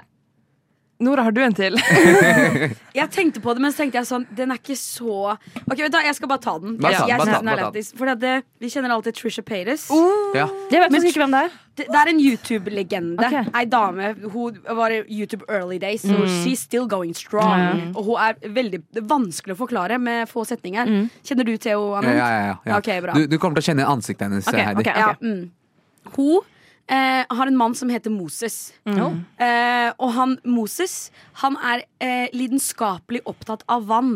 [SPEAKER 1] Nora, har du en til?
[SPEAKER 2] Jeg tenkte på det, men så tenkte jeg sånn Den er ikke så Ok, vet du hva, jeg skal bare ta den.
[SPEAKER 3] Bare ta den,
[SPEAKER 2] jeg
[SPEAKER 3] bare
[SPEAKER 2] synes
[SPEAKER 3] ta den,
[SPEAKER 2] den er
[SPEAKER 3] bare ta den.
[SPEAKER 2] lættis. Fordi at det, Vi kjenner alltid Trisha Paytas.
[SPEAKER 3] Ja.
[SPEAKER 8] Jeg vet faktisk ikke hvem det er.
[SPEAKER 2] Det, det er en YouTube-legende.
[SPEAKER 8] Ok. Mm.
[SPEAKER 2] Ei dame. Hun var i YouTube early days, så she's still going strong. Og hun er veldig det er vanskelig å forklare med få setninger.
[SPEAKER 8] Mm.
[SPEAKER 2] Kjenner du til henne?
[SPEAKER 3] Ja,
[SPEAKER 2] Anand?
[SPEAKER 3] ja, ja, ja.
[SPEAKER 2] Ok, bra.
[SPEAKER 3] Du, du kommer til å kjenne ansiktet hennes,
[SPEAKER 8] Ok,
[SPEAKER 3] Heidi.
[SPEAKER 8] ok.
[SPEAKER 2] Ja, mm. Hun eh, har en mann som heter Moses.
[SPEAKER 8] Mm.
[SPEAKER 2] Eh, og han Moses han er eh, lidenskapelig opptatt av vann.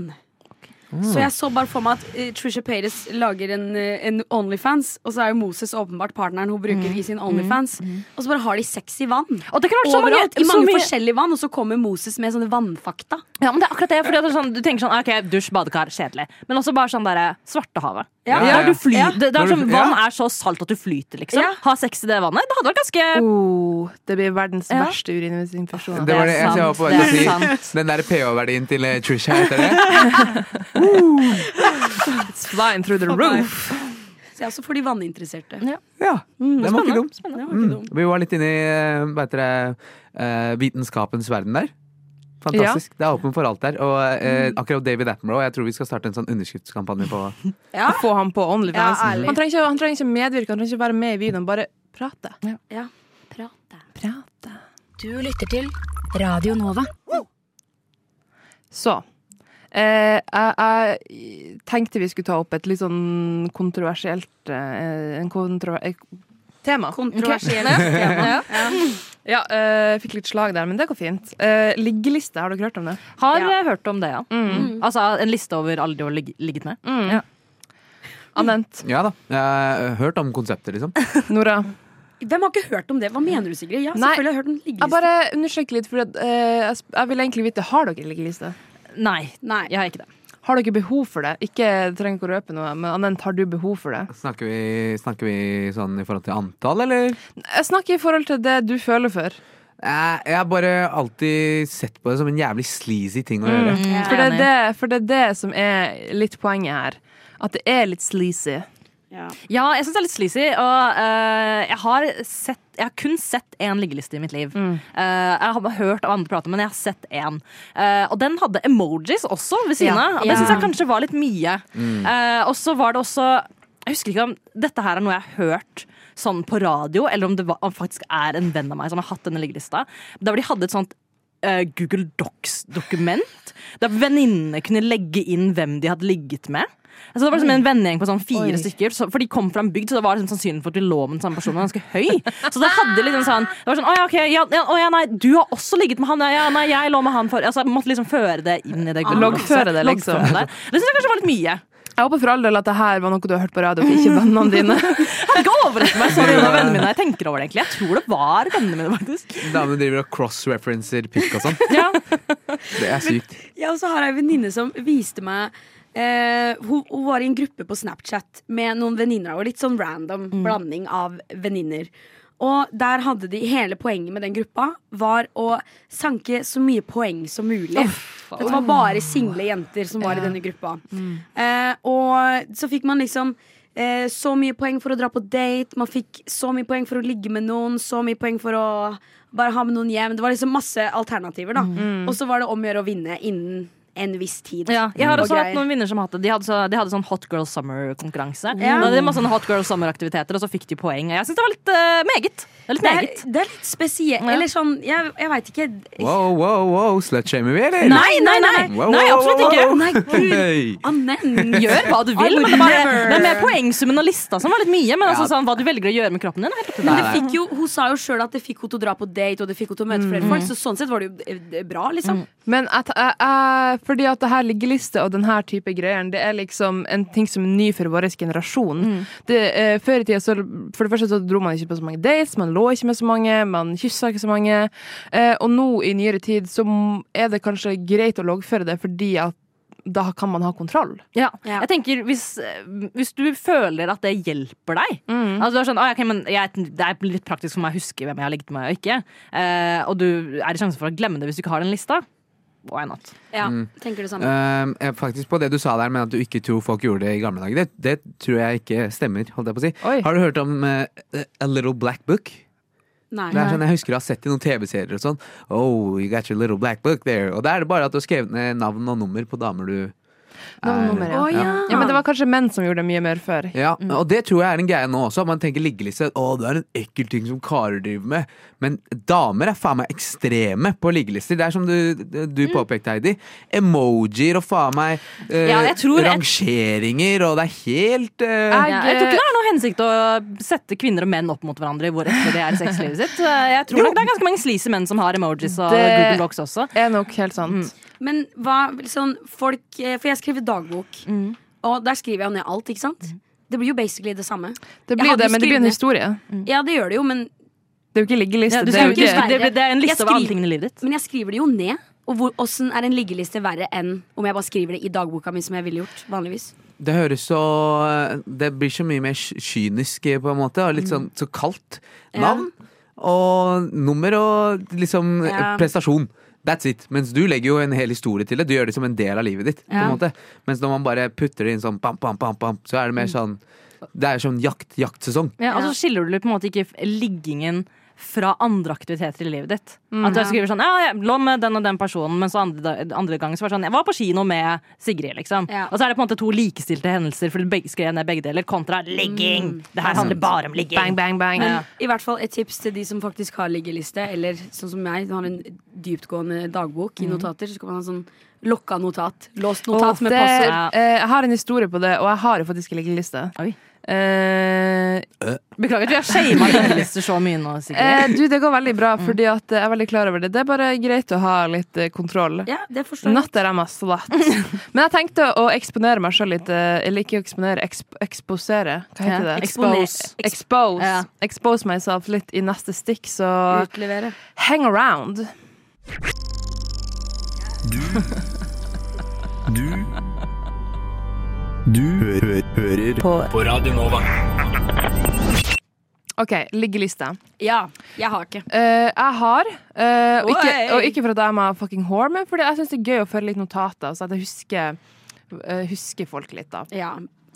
[SPEAKER 8] Mm.
[SPEAKER 2] Så jeg så bare for meg at eh, Trisha Paytas lager en, eh, en Onlyfans, og så er jo Moses åpenbart partneren hun bruker
[SPEAKER 8] Mm.
[SPEAKER 2] i sin Onlyfans. Og så bare har de sex i vann.
[SPEAKER 8] Og det kan være så mange-
[SPEAKER 2] Overalt, I
[SPEAKER 8] så
[SPEAKER 2] mange
[SPEAKER 8] mye-
[SPEAKER 2] forskjellige vann, og så kommer Moses med sånne vannfakta.
[SPEAKER 8] Ja, men det er akkurat det, fordi at det er sånn, Du tenker sånn, ok, dusj, badekar, kjedelig. Men også bare sånn derre Svartehavet.
[SPEAKER 2] Ja.
[SPEAKER 3] Ja, ja.
[SPEAKER 8] Der du fly,
[SPEAKER 2] Ja.
[SPEAKER 8] det, det er
[SPEAKER 3] Når
[SPEAKER 8] sånn,
[SPEAKER 3] du-
[SPEAKER 8] vann
[SPEAKER 3] ja.
[SPEAKER 8] er så salt at du flyter, liksom.
[SPEAKER 2] Ja.
[SPEAKER 8] Ha sex i det vannet. Det hadde vært ganske
[SPEAKER 1] Oh, det blir verdens
[SPEAKER 8] Ja.
[SPEAKER 1] verste urininfeksjon.
[SPEAKER 3] Det var
[SPEAKER 8] Det
[SPEAKER 3] det
[SPEAKER 8] er
[SPEAKER 3] eneste jeg var
[SPEAKER 8] sant,
[SPEAKER 3] på vei
[SPEAKER 8] det er
[SPEAKER 3] til å
[SPEAKER 8] sant.
[SPEAKER 3] si. Den der pH-verdien til eh, Trisha, heter det?
[SPEAKER 1] Flying through the roof!
[SPEAKER 2] Så ja, så får de vanninteresserte.
[SPEAKER 8] Ja.
[SPEAKER 3] Ja,
[SPEAKER 8] Mm,
[SPEAKER 3] den var ikke dum.
[SPEAKER 2] Det var ikke
[SPEAKER 3] Mm.
[SPEAKER 2] dum.
[SPEAKER 3] Vi var litt inne i eh, hva heter det, eh, vitenskapens verden der. Fantastisk. Det er åpen for alt der. Og eh, akkurat David Attenborough, jeg tror vi skal starte en sånn underskriftskampanje på
[SPEAKER 1] Få ham på OnlyFans.
[SPEAKER 2] Ja, ærlig.
[SPEAKER 1] han, trenger ikke, han trenger ikke medvirke, han trenger ikke være med i videoen. Bare prate.
[SPEAKER 2] Ja.
[SPEAKER 1] Prate.
[SPEAKER 5] Du lytter til Radio Nova.
[SPEAKER 1] Så. Eh, jeg, jeg tenkte vi skulle ta opp et litt sånn kontroversielt eh, en kontro eh, tema.
[SPEAKER 2] Kontroversielt
[SPEAKER 1] Ok.
[SPEAKER 2] tema.
[SPEAKER 1] ja, ja eh, fikk litt slag der, men det går fint. Eh, liggeliste, har dere hørt om det?
[SPEAKER 8] Har
[SPEAKER 2] Ja. Mm.
[SPEAKER 8] eh, hørt om det, ja. Altså en liste over alle de har ligg- ligget med.
[SPEAKER 1] Anent,
[SPEAKER 3] Ja da. Jeg har hørt om konseptet, liksom.
[SPEAKER 1] Nora.
[SPEAKER 2] Hvem har ikke hørt om det? Hva mener du, Sigrid? Ja,
[SPEAKER 1] Nei.
[SPEAKER 2] selvfølgelig har jeg hørt om liggeliste.
[SPEAKER 1] Jeg bare undersøker litt, for jeg, sp- jeg vil egentlig vite har dere liggeliste.
[SPEAKER 8] Nei,
[SPEAKER 2] Nei.
[SPEAKER 8] jeg har ikke det.
[SPEAKER 1] Har dere behov for det? Ikke jeg trenger ikke å røpe noe, men Anent, har du behov for det?
[SPEAKER 3] Snakker vi, snakker vi sånn i forhold til antall, eller?
[SPEAKER 1] Jeg snakker i forhold til det du føler for.
[SPEAKER 3] Eh, Jeg har bare alltid sett på det som en jævlig sleazy ting å gjøre.
[SPEAKER 8] Jeg
[SPEAKER 1] For
[SPEAKER 8] er
[SPEAKER 1] det, er
[SPEAKER 8] enig.
[SPEAKER 1] det, for det er det som er litt poenget her. At det er litt sleazy.
[SPEAKER 2] Ja.
[SPEAKER 8] Ja, jeg syns det er litt sleazy. Og eh, jeg, har sett, jeg har kun sett én liggeliste i mitt liv.
[SPEAKER 1] Mm.
[SPEAKER 8] Eh, jeg har hørt av andre prate, men jeg har sett én. Eh, og den hadde emojis også ved siden
[SPEAKER 1] Ja.
[SPEAKER 8] av. og Det syns jeg kanskje var litt mye. Eh, og så var det også Jeg husker ikke om dette her er noe jeg har hørt sånn på radio, eller om det var, om faktisk er en venn av meg som har hatt denne liggelista. Der hvor de hadde et sånt eh, Google Docs-dokument. Der venninnene kunne legge inn hvem de hadde ligget med. Altså, det var liksom en vennegjeng på sånn fire stykker, så, for de kom fra en bygd, så det var liksom sannsynlig for at de lå med den samme personen, ganske høy. Så det hadde liksom sånn Det var sånn Å ja, ok, ja, ja, å, ja nei, du har også ligget med han, ja, ja, nei, jeg lå med han for Altså, jeg måtte liksom føre det inn i det Google Docs.
[SPEAKER 1] Loggføre det, liksom.
[SPEAKER 8] Loggføre det. Det syns jeg kanskje var litt mye.
[SPEAKER 1] Jeg håper for all del at det her var noe du har hørt på radio, og ikke vennene dine.
[SPEAKER 8] Jeg kan ikke overraske meg så mye over vennene mine. Jeg tenker over det egentlig. Jeg tror det var vennene mine, faktisk.
[SPEAKER 3] Damene driver og cross-referencer pikk og sånn.
[SPEAKER 8] Ja.
[SPEAKER 3] Det er sykt.
[SPEAKER 2] Ja, og så har jeg en venninne som viste meg eh, hun, hun var i en gruppe på Snapchat med noen venninner. Og litt sånn random blanding av venninner. Og der hadde de hele poenget med den gruppa var å sanke så mye poeng som mulig. det var bare single jenter som var i denne gruppa. Eh, og så fikk man liksom eh, så mye poeng for å dra på date, man fikk så mye poeng for å ligge med noen, så mye poeng for å bare ha med noen hjem. Det var liksom masse alternativer, da. Og så var det om å gjøre å vinne innen en viss tid.
[SPEAKER 8] Mm. Ja, jeg har
[SPEAKER 2] Mm. Og
[SPEAKER 8] også hatt
[SPEAKER 2] greier.
[SPEAKER 8] noen vinner som hadde De hadde, så, de hadde sånn Hot Girl Summer-konkurranse.
[SPEAKER 2] Ja.
[SPEAKER 8] Da hadde de masse sånne Hot Girl Summer-aktiviteter, og så fikk de poeng. Jeg syns det var litt eh, meget. Det er litt
[SPEAKER 2] Det er,
[SPEAKER 8] meget.
[SPEAKER 2] det er litt spesielt. Eller sånn, jeg, jeg veit ikke.
[SPEAKER 3] Wow, wow, wow. Slutshamer vi, eller?
[SPEAKER 8] Nei, nei, nei!
[SPEAKER 3] Wow,
[SPEAKER 8] Nei,
[SPEAKER 3] wow,
[SPEAKER 8] absolutt
[SPEAKER 3] wow,
[SPEAKER 8] ikke.
[SPEAKER 3] wow.
[SPEAKER 2] Nei, gud.
[SPEAKER 3] Hei.
[SPEAKER 2] Annen.
[SPEAKER 8] Gjør hva du vil, men det er, bare, det er mer poengsummen og lista som var litt mye. Men altså, sånn, hva du velger å gjøre med kroppen din, er helt opp til
[SPEAKER 2] Men
[SPEAKER 8] deg.
[SPEAKER 2] det fikk jo, hun sa jo sjøl at det fikk henne til å dra på date og det fikk henne til å møte
[SPEAKER 8] Mm.
[SPEAKER 2] flere folk. Så sånn sett var det jo eh, bra, liksom.
[SPEAKER 1] Men at, jeg- jeg- fordi at det her liggeliste og den her type greier, det er liksom en ting som er ny for vår generasjon. Det, eh, før i tida så For det første så dro man ikke på så mange dates, man lå ikke med så mange, man kyssa ikke så mange. Eh, og nå i nyere tid så m- er det kanskje greit å loggføre det fordi at da kan man ha kontroll.
[SPEAKER 8] Ja.
[SPEAKER 2] Ja.
[SPEAKER 8] Jeg tenker, hvis, eh, hvis du føler at det hjelper deg altså, du er sånn, «Ah, ok, men jeg, Det er litt praktisk for meg å huske hvem jeg har ligget med og ikke. eh, og du er i sjansen for å glemme det hvis du ikke har den lista. Why not?
[SPEAKER 2] Ja,
[SPEAKER 3] Mm.
[SPEAKER 2] tenker sånn? det samme.
[SPEAKER 3] Ehm, jeg- faktisk på det du sa der med at du ikke tror folk gjorde det i gamle dager. Det, det tror jeg ikke stemmer. holdt jeg på å si
[SPEAKER 1] Oi.
[SPEAKER 3] Har du hørt om eh, A Little Black Book?
[SPEAKER 2] Nei.
[SPEAKER 3] Det er sånn, jeg husker jeg har sett i noen TV-serier og sånn. Oh, you got your little black book there Og da er det bare at du har skrevet ned navn og nummer på damer du
[SPEAKER 1] Navn og nummer, ja.
[SPEAKER 2] Å ja.
[SPEAKER 1] Ja, men det var kanskje menn som gjorde det mye mer før.
[SPEAKER 3] Ja,
[SPEAKER 8] Mm.
[SPEAKER 3] og det tror jeg er en greie nå også. Man tenker liggeliste. Å, det er en ekkel ting som karer driver med. Men damer er faen meg ekstreme på liggelister. Det er som du, du
[SPEAKER 8] Mm.
[SPEAKER 3] påpekte, Heidi. Emojier og faen meg eh,
[SPEAKER 8] Ja, jeg tror-
[SPEAKER 3] rangeringer, og det er helt eh,
[SPEAKER 1] Jeg-
[SPEAKER 8] Ja, jeg tror ikke det er noe hensikt å sette kvinner og menn opp mot hverandre. i Hvor ekte de er i sexlivet sitt Jeg tror nok det er ganske mange sleazy menn som har emojis og
[SPEAKER 1] Det-
[SPEAKER 8] Google Docs også.
[SPEAKER 1] er nok helt sant.
[SPEAKER 2] Men hva sånn, folk eh, For jeg skriver dagbok, og der skriver jeg ned alt, ikke sant? Det blir jo basically det samme.
[SPEAKER 1] Det
[SPEAKER 2] Jeg
[SPEAKER 1] blir jo
[SPEAKER 2] hadde
[SPEAKER 1] det, men det blir en
[SPEAKER 2] skrevet-
[SPEAKER 1] historie.
[SPEAKER 2] Ja, det gjør det jo, men,
[SPEAKER 1] Det er jo ikke liggeliste.
[SPEAKER 8] Ja, du
[SPEAKER 1] det er
[SPEAKER 8] skal
[SPEAKER 1] jo
[SPEAKER 8] jo ikke,
[SPEAKER 1] ikke
[SPEAKER 2] sperre.
[SPEAKER 8] det, det er en
[SPEAKER 2] Jeg
[SPEAKER 8] liste over alle
[SPEAKER 2] skriver-
[SPEAKER 8] tingene i livet ditt.
[SPEAKER 2] men jeg skriver det jo ned. Og hvor- åssen er en liggeliste verre enn om jeg bare skriver det i dagboka mi, som jeg ville gjort vanligvis?
[SPEAKER 3] Det høres så Det blir så mye mer ky- kynisk, på en måte. Og litt
[SPEAKER 2] Mm.
[SPEAKER 3] sånn så kaldt navn. Og nummer og liksom
[SPEAKER 2] Ja.
[SPEAKER 3] prestasjon. That's it. Mens du legger jo en hel historie til det. Du gjør
[SPEAKER 2] Mm.
[SPEAKER 3] det som en del av livet ditt. På en måte. Mens når man bare putter det inn sånn pam, pam, pam, pam, så er det mer sånn Det er sånn jakt, jaktsesong.
[SPEAKER 8] Ja,
[SPEAKER 2] altså,
[SPEAKER 8] og så Altså, skiller du på en måte ikke f- liggingen fra andre aktiviteter i livet ditt. At du skriver sånn Ja, jeg lå med den og den personen, men så andre, andre gangen så var det sånn Jeg var på kino med Sigrid, liksom.
[SPEAKER 2] Ja.
[SPEAKER 8] Og så er det på en måte to likestilte hendelser, for du begge skrev ned begge deler, kontra ligging. Mm. Det her handler bare om ligging.
[SPEAKER 1] Bang, bang, bang.
[SPEAKER 8] Ja.
[SPEAKER 2] I hvert fall et tips til de som faktisk har liggeliste, eller sånn som meg, som har en dyptgående dagbok i notater. Så kan man ha sånn lokka notat. Låst notat med
[SPEAKER 1] det,
[SPEAKER 2] passord.
[SPEAKER 8] passord.
[SPEAKER 1] eh, jeg har en historie på det, og jeg har jo faktisk en liggeliste.
[SPEAKER 8] Oi.
[SPEAKER 1] Eh,
[SPEAKER 8] Beklager at vi har shama kjendelister så mye nå, Sigrid.
[SPEAKER 1] eh, du, det går veldig bra, fordi at jeg er veldig klar over det. Det er bare greit å ha litt eh, kontroll.
[SPEAKER 2] Ja, det forstår jeg.
[SPEAKER 1] Not that I'm a slut. Men jeg tenkte å eksponere meg sjøl litt. eh, Eller ikke eksponere, eksp eksposere. Hva heter
[SPEAKER 8] Ja,
[SPEAKER 1] det?
[SPEAKER 8] Expose.
[SPEAKER 1] Expose.
[SPEAKER 8] Ja.
[SPEAKER 1] Expose myself litt i neste stikk, så
[SPEAKER 2] Utlevere.
[SPEAKER 1] hang around. OK, liggeliste.
[SPEAKER 2] Ja. Jeg har ikke.
[SPEAKER 1] Eh, jeg har, eh, og, ikke,
[SPEAKER 2] Oi!
[SPEAKER 1] og ikke for at jeg er meg fucking whore, men fordi jeg syns det er gøy å føre litt notater, så at jeg husker, eh, husker folk litt, da.
[SPEAKER 2] Ja.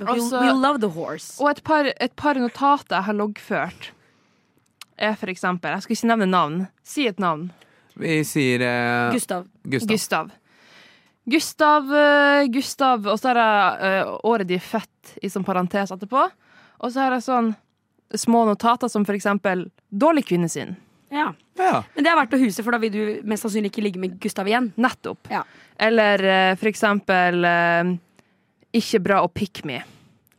[SPEAKER 1] Altså-
[SPEAKER 2] we love the horse.
[SPEAKER 1] Og et par, et par notater jeg har loggført, er for eksempel Jeg skal ikke nevne navn. Si et navn.
[SPEAKER 3] Vi sier eh,
[SPEAKER 2] Gustav.
[SPEAKER 3] Gustav.
[SPEAKER 1] Gustav. Gustav, eh, Gustav Og så har jeg eh, året de er født, i sånn parentes etterpå. Og så har jeg sånn små notater som for eksempel Dårlig kvinnesyn.
[SPEAKER 2] Ja.
[SPEAKER 3] Ja.
[SPEAKER 2] Men det er verdt å huse, for da vil du mest sannsynlig ikke ligge med Gustav igjen.
[SPEAKER 1] Nettopp.
[SPEAKER 2] Ja.
[SPEAKER 1] Eller eh, for eksempel eh, Ikke bra å pick me.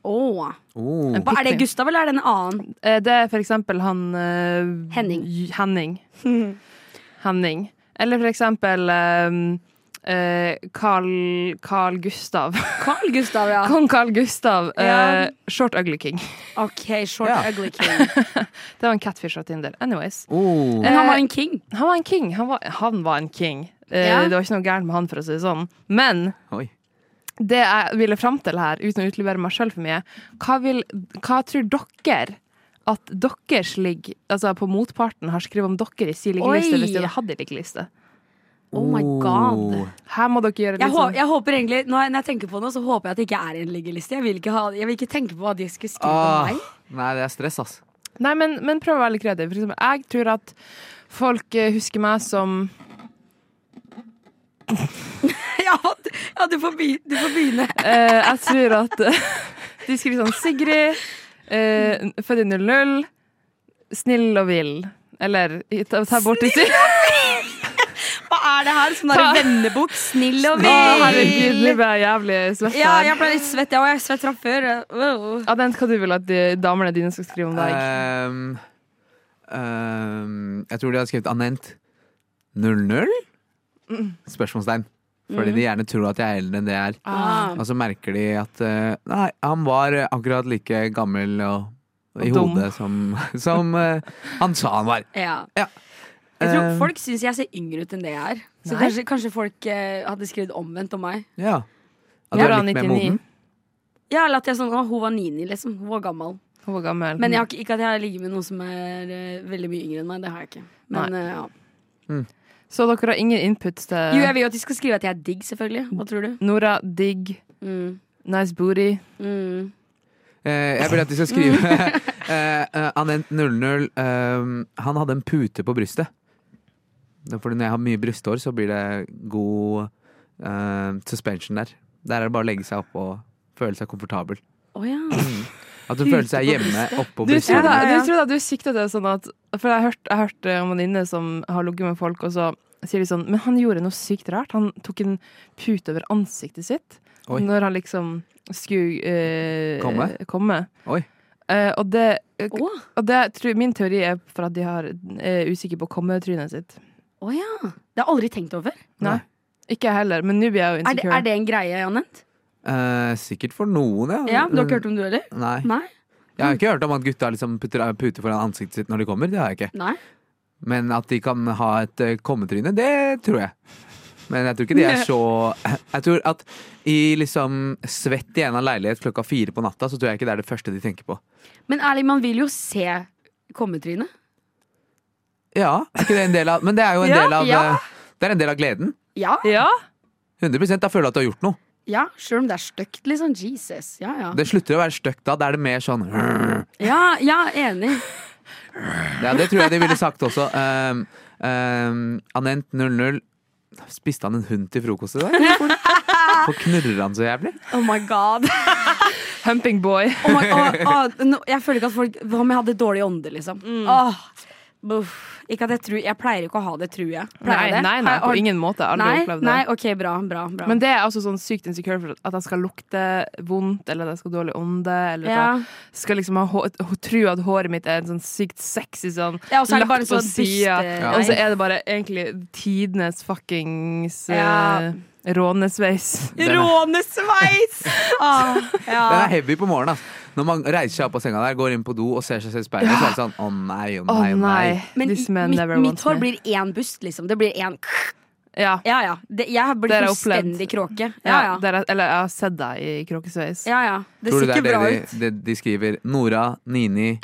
[SPEAKER 2] Åh.
[SPEAKER 3] Oh.
[SPEAKER 1] En
[SPEAKER 2] Hva, er det
[SPEAKER 1] pick me.
[SPEAKER 2] Gustav, eller er det en annen?
[SPEAKER 1] Eh, Det er for eksempel han eh,
[SPEAKER 2] Henning.
[SPEAKER 1] J- Henning. Henning. Eller for eksempel eh, eh, Carl, Carl Gustav.
[SPEAKER 2] Carl Gustav, ja.
[SPEAKER 1] Kong Carl Gustav. eh,
[SPEAKER 2] Ja.
[SPEAKER 1] Short Ugly King.
[SPEAKER 2] OK, short
[SPEAKER 3] Ja.
[SPEAKER 2] ugly king.
[SPEAKER 1] Det var en catfish av Tinder. Anyways.
[SPEAKER 3] Oh.
[SPEAKER 2] Men han var en king.
[SPEAKER 1] Han var en king. Han var, han var en king. Eh,
[SPEAKER 2] Ja.
[SPEAKER 1] Det var ikke noe gærent med han, for å si det sånn. Men
[SPEAKER 2] oh
[SPEAKER 3] Oi.
[SPEAKER 1] det jeg ville fram til her, uten å utlevere meg sjøl for mye, hva, vil, hva tror dere at deres ligg, altså på motparten, har skrevet om dere i sin liggeliste
[SPEAKER 2] Oi.
[SPEAKER 1] hvis de hadde hatt en liggeliste?
[SPEAKER 2] Oh my god.
[SPEAKER 3] Oh.
[SPEAKER 1] Her må dere gjøre
[SPEAKER 2] Jeg,
[SPEAKER 1] litt
[SPEAKER 2] hå
[SPEAKER 1] sånn
[SPEAKER 2] jeg håper egentlig Når jeg, når jeg tenker på det, så håper jeg at det ikke er i en liggeliste. Jeg vil ikke, ha, jeg vil ikke tenke på hva de skulle skrive
[SPEAKER 3] Ah.
[SPEAKER 2] om meg.
[SPEAKER 3] Nei, det er stress, ass.
[SPEAKER 1] Nei, men, men prøv å være litt kreativ. For eksempel, jeg tror at folk eh, husker meg som
[SPEAKER 2] Ja, du- ja du, får begynne, du får begynne.
[SPEAKER 1] eh, Jeg tror at eh, de skriver sånn Sigrid, eh, født i 00, snill og vill. Eller ta, ta bort de siste.
[SPEAKER 2] Hva er det her? Sånn
[SPEAKER 1] Ta-
[SPEAKER 2] derre vennebok? Snill og
[SPEAKER 1] Å, herregud, nå
[SPEAKER 2] vill.
[SPEAKER 1] ble jeg jævlig svett
[SPEAKER 2] Ja,
[SPEAKER 1] her.
[SPEAKER 2] jeg ble litt svett, jeg òg. Jeg er svett fra før. Wow.
[SPEAKER 1] Adent, hva du vil at de, damene dine skal skrive om deg?
[SPEAKER 3] Ehm, ehm, jeg tror de har skrevet Anent 00? Spørsmålstegn. Fordi
[SPEAKER 1] Mm.
[SPEAKER 3] de gjerne tror at jeg er eldre enn det jeg er.
[SPEAKER 2] Ah.
[SPEAKER 3] Og så merker de at eh, Nei, han var eh, akkurat like gammel og, i
[SPEAKER 1] Og dum.
[SPEAKER 3] hodet som, som eh, han sa han var.
[SPEAKER 2] Ja.
[SPEAKER 3] Ja.
[SPEAKER 2] Jeg tror
[SPEAKER 3] Eh.
[SPEAKER 2] Folk syns jeg ser yngre ut enn det jeg er. Så
[SPEAKER 1] Nei.
[SPEAKER 2] kanskje, kanskje folk eh, hadde skrevet omvendt om meg.
[SPEAKER 3] Ja. At
[SPEAKER 1] Ja,
[SPEAKER 3] du
[SPEAKER 1] da,
[SPEAKER 3] er litt mer
[SPEAKER 1] 99.
[SPEAKER 3] moden.
[SPEAKER 2] Ja, eller at jeg sånn, å, Hun var nini, liksom. Hun var gammel.
[SPEAKER 1] Hun var gammel.
[SPEAKER 2] Men jeg har ikke, ikke at jeg har ligget med noen som er eh, veldig mye yngre enn meg. Det har jeg ikke. Men, eh, ja.
[SPEAKER 1] Så dere har ingen input
[SPEAKER 2] Jo,
[SPEAKER 1] til
[SPEAKER 2] jeg vil jo at de skal skrive at jeg er digg, selvfølgelig. Hva tror du?
[SPEAKER 1] Nora, digg,
[SPEAKER 2] Mm.
[SPEAKER 1] nice booty.
[SPEAKER 2] Mm.
[SPEAKER 3] Eh, jeg vil at de skal skrive eh, eh, Anent 00 ehm, Han hadde en pute på brystet. Det er Fordi når jeg har mye brysthår, så blir det god eh, suspension der. Der er det bare å legge seg opp og føle seg komfortabel.
[SPEAKER 2] Å ja.
[SPEAKER 3] At du
[SPEAKER 2] Pute
[SPEAKER 3] føler seg
[SPEAKER 2] på
[SPEAKER 3] hjemme
[SPEAKER 2] brystet?
[SPEAKER 3] oppå
[SPEAKER 1] Du tror da,
[SPEAKER 3] brysthåret.
[SPEAKER 2] ja, ja.
[SPEAKER 1] du, tror da du sikter til sånn at For jeg har hørt, jeg har hørt eh, om en venninne som har ligget med folk, og så sier de sånn Men han gjorde noe sykt rart. Han tok en pute over ansiktet sitt
[SPEAKER 3] Oi.
[SPEAKER 1] når han liksom skulle eh,
[SPEAKER 3] Komme? Oi.
[SPEAKER 1] Eh, og det,
[SPEAKER 2] Å
[SPEAKER 1] og det tror, min teori er for at de har, er usikre på kommetrynet sitt.
[SPEAKER 2] å ja. Det har jeg aldri tenkt over.
[SPEAKER 3] Nei.
[SPEAKER 1] Ikke jeg heller, men nå blir jeg jo
[SPEAKER 2] Er det,
[SPEAKER 1] insecure.
[SPEAKER 2] er det en greie, Janent?
[SPEAKER 3] Eh, sikkert for noen, ja.
[SPEAKER 2] Ja, du har ikke hørt om du heller?
[SPEAKER 3] Nei.
[SPEAKER 2] Nei?
[SPEAKER 3] Jeg har ikke hørt om at gutta liksom putter eh, pute foran ansiktet sitt når de kommer. Det har jeg ikke.
[SPEAKER 2] Nei?
[SPEAKER 3] Men at de kan ha et eh, kommetryne, det tror jeg. Men jeg tror ikke de er så Jeg tror at i liksom svett i en av leilighet klokka fire på natta, så tror jeg ikke det er det første de tenker på.
[SPEAKER 2] Men ærlig, man vil jo se kommetrynet.
[SPEAKER 3] Ja, er ikke det en del av Men det er jo en
[SPEAKER 1] Ja,
[SPEAKER 3] del av
[SPEAKER 1] ja.
[SPEAKER 3] eh, Det er en del av gleden.
[SPEAKER 2] Ja.
[SPEAKER 1] Ja,
[SPEAKER 3] 100 Da føler du at du har gjort noe.
[SPEAKER 2] Ja, sjøl om det er stygt, liksom. Jesus. Ja, ja.
[SPEAKER 3] Det slutter å være stygt da. Da er det mer sånn Ja,
[SPEAKER 2] Ja, ja, enig.
[SPEAKER 3] det tror jeg de ville sagt også. Um, um, Anent 00 Spiste han en hund til frokost i dag? Hvorfor knurrer han så jævlig?
[SPEAKER 2] Oh my god.
[SPEAKER 1] Humping boy.
[SPEAKER 2] Oh my, oh, oh, nå- jeg føler ikke at folk Hva om jeg hadde dårlig ånde, liksom?
[SPEAKER 1] Mm.
[SPEAKER 2] Åh, buff. Ikke at jeg tror Jeg pleier ikke å ha det, tror jeg. Pleier
[SPEAKER 1] Nei,
[SPEAKER 2] jeg det?
[SPEAKER 1] nei, nei,
[SPEAKER 2] Har-
[SPEAKER 1] på ingen måte. Jeg har Aldri
[SPEAKER 2] Nei,
[SPEAKER 1] opplevd det.
[SPEAKER 2] nei, ok, bra, bra, bra.
[SPEAKER 1] Men det er altså sånn sykt insecure for at han skal lukte vondt, eller at jeg skal ha dårlig ånde, eller at
[SPEAKER 2] ja.
[SPEAKER 1] jeg skal liksom ha hå- hun tror at håret mitt er en sånn sykt sexy sånn
[SPEAKER 2] Ja, og så er det bare
[SPEAKER 1] lagt på
[SPEAKER 2] sånn
[SPEAKER 1] sida,
[SPEAKER 2] byste-
[SPEAKER 1] og så er det bare egentlig tidenes fuckings
[SPEAKER 2] Ja.
[SPEAKER 1] eh, rånesveis.
[SPEAKER 3] Den er-
[SPEAKER 2] Rånesveis! Ah,
[SPEAKER 3] Den er
[SPEAKER 2] ja.
[SPEAKER 3] heavy på morgenen. ass. Når man reiser seg opp av senga der, går inn på do og ser seg selv i speilet, så er det sånn Å nei, å
[SPEAKER 1] Å
[SPEAKER 3] nei, å
[SPEAKER 1] nei.
[SPEAKER 3] nei.
[SPEAKER 2] Men
[SPEAKER 1] This
[SPEAKER 2] i-
[SPEAKER 1] man
[SPEAKER 2] mitt,
[SPEAKER 1] never
[SPEAKER 2] mitt
[SPEAKER 1] wants
[SPEAKER 2] hår
[SPEAKER 1] me.
[SPEAKER 2] blir én bust, liksom. Det blir én
[SPEAKER 1] Ja.
[SPEAKER 2] Ja, ja. Det, jeg blir
[SPEAKER 1] Det har jeg
[SPEAKER 2] fullstendig kråke. Ja,
[SPEAKER 1] Ja,
[SPEAKER 2] ja.
[SPEAKER 1] der er- eller jeg har sett deg i kråkesveis.
[SPEAKER 2] ja, ja. Det
[SPEAKER 3] Tror
[SPEAKER 2] ser
[SPEAKER 3] du det
[SPEAKER 2] ikke
[SPEAKER 3] er
[SPEAKER 2] bra
[SPEAKER 3] det
[SPEAKER 2] ut.
[SPEAKER 3] de, det de skriver? Nora, Nini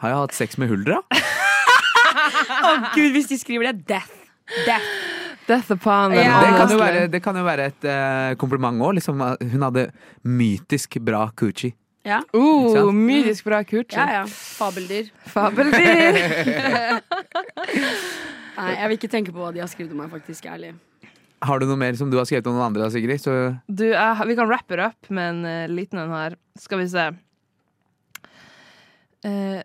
[SPEAKER 3] Har jeg hatt sex med huldra?
[SPEAKER 2] Å gud, hvis de skriver det. Death. Death.
[SPEAKER 1] Death upon them.
[SPEAKER 2] Ja.
[SPEAKER 3] Det kan jo
[SPEAKER 1] honestly.
[SPEAKER 3] være, det kan jo være et eh, kompliment òg. Liksom, at hun hadde mytisk bra coochie.
[SPEAKER 2] Ja,
[SPEAKER 3] Ikke
[SPEAKER 1] Oh,
[SPEAKER 3] sant?
[SPEAKER 1] mytisk bra kult.
[SPEAKER 2] ja. ja. Fabeldyr.
[SPEAKER 1] Fabeldyr.
[SPEAKER 2] Nei, jeg vil ikke tenke på hva de har skrevet om meg, faktisk. Ærlig.
[SPEAKER 3] Har du noe mer som du har skrevet om noen andre, da, Sigrid? Så,
[SPEAKER 1] Du, jeg, har- vi kan wrap it up med en eh, liten en her. Skal vi se. Eh,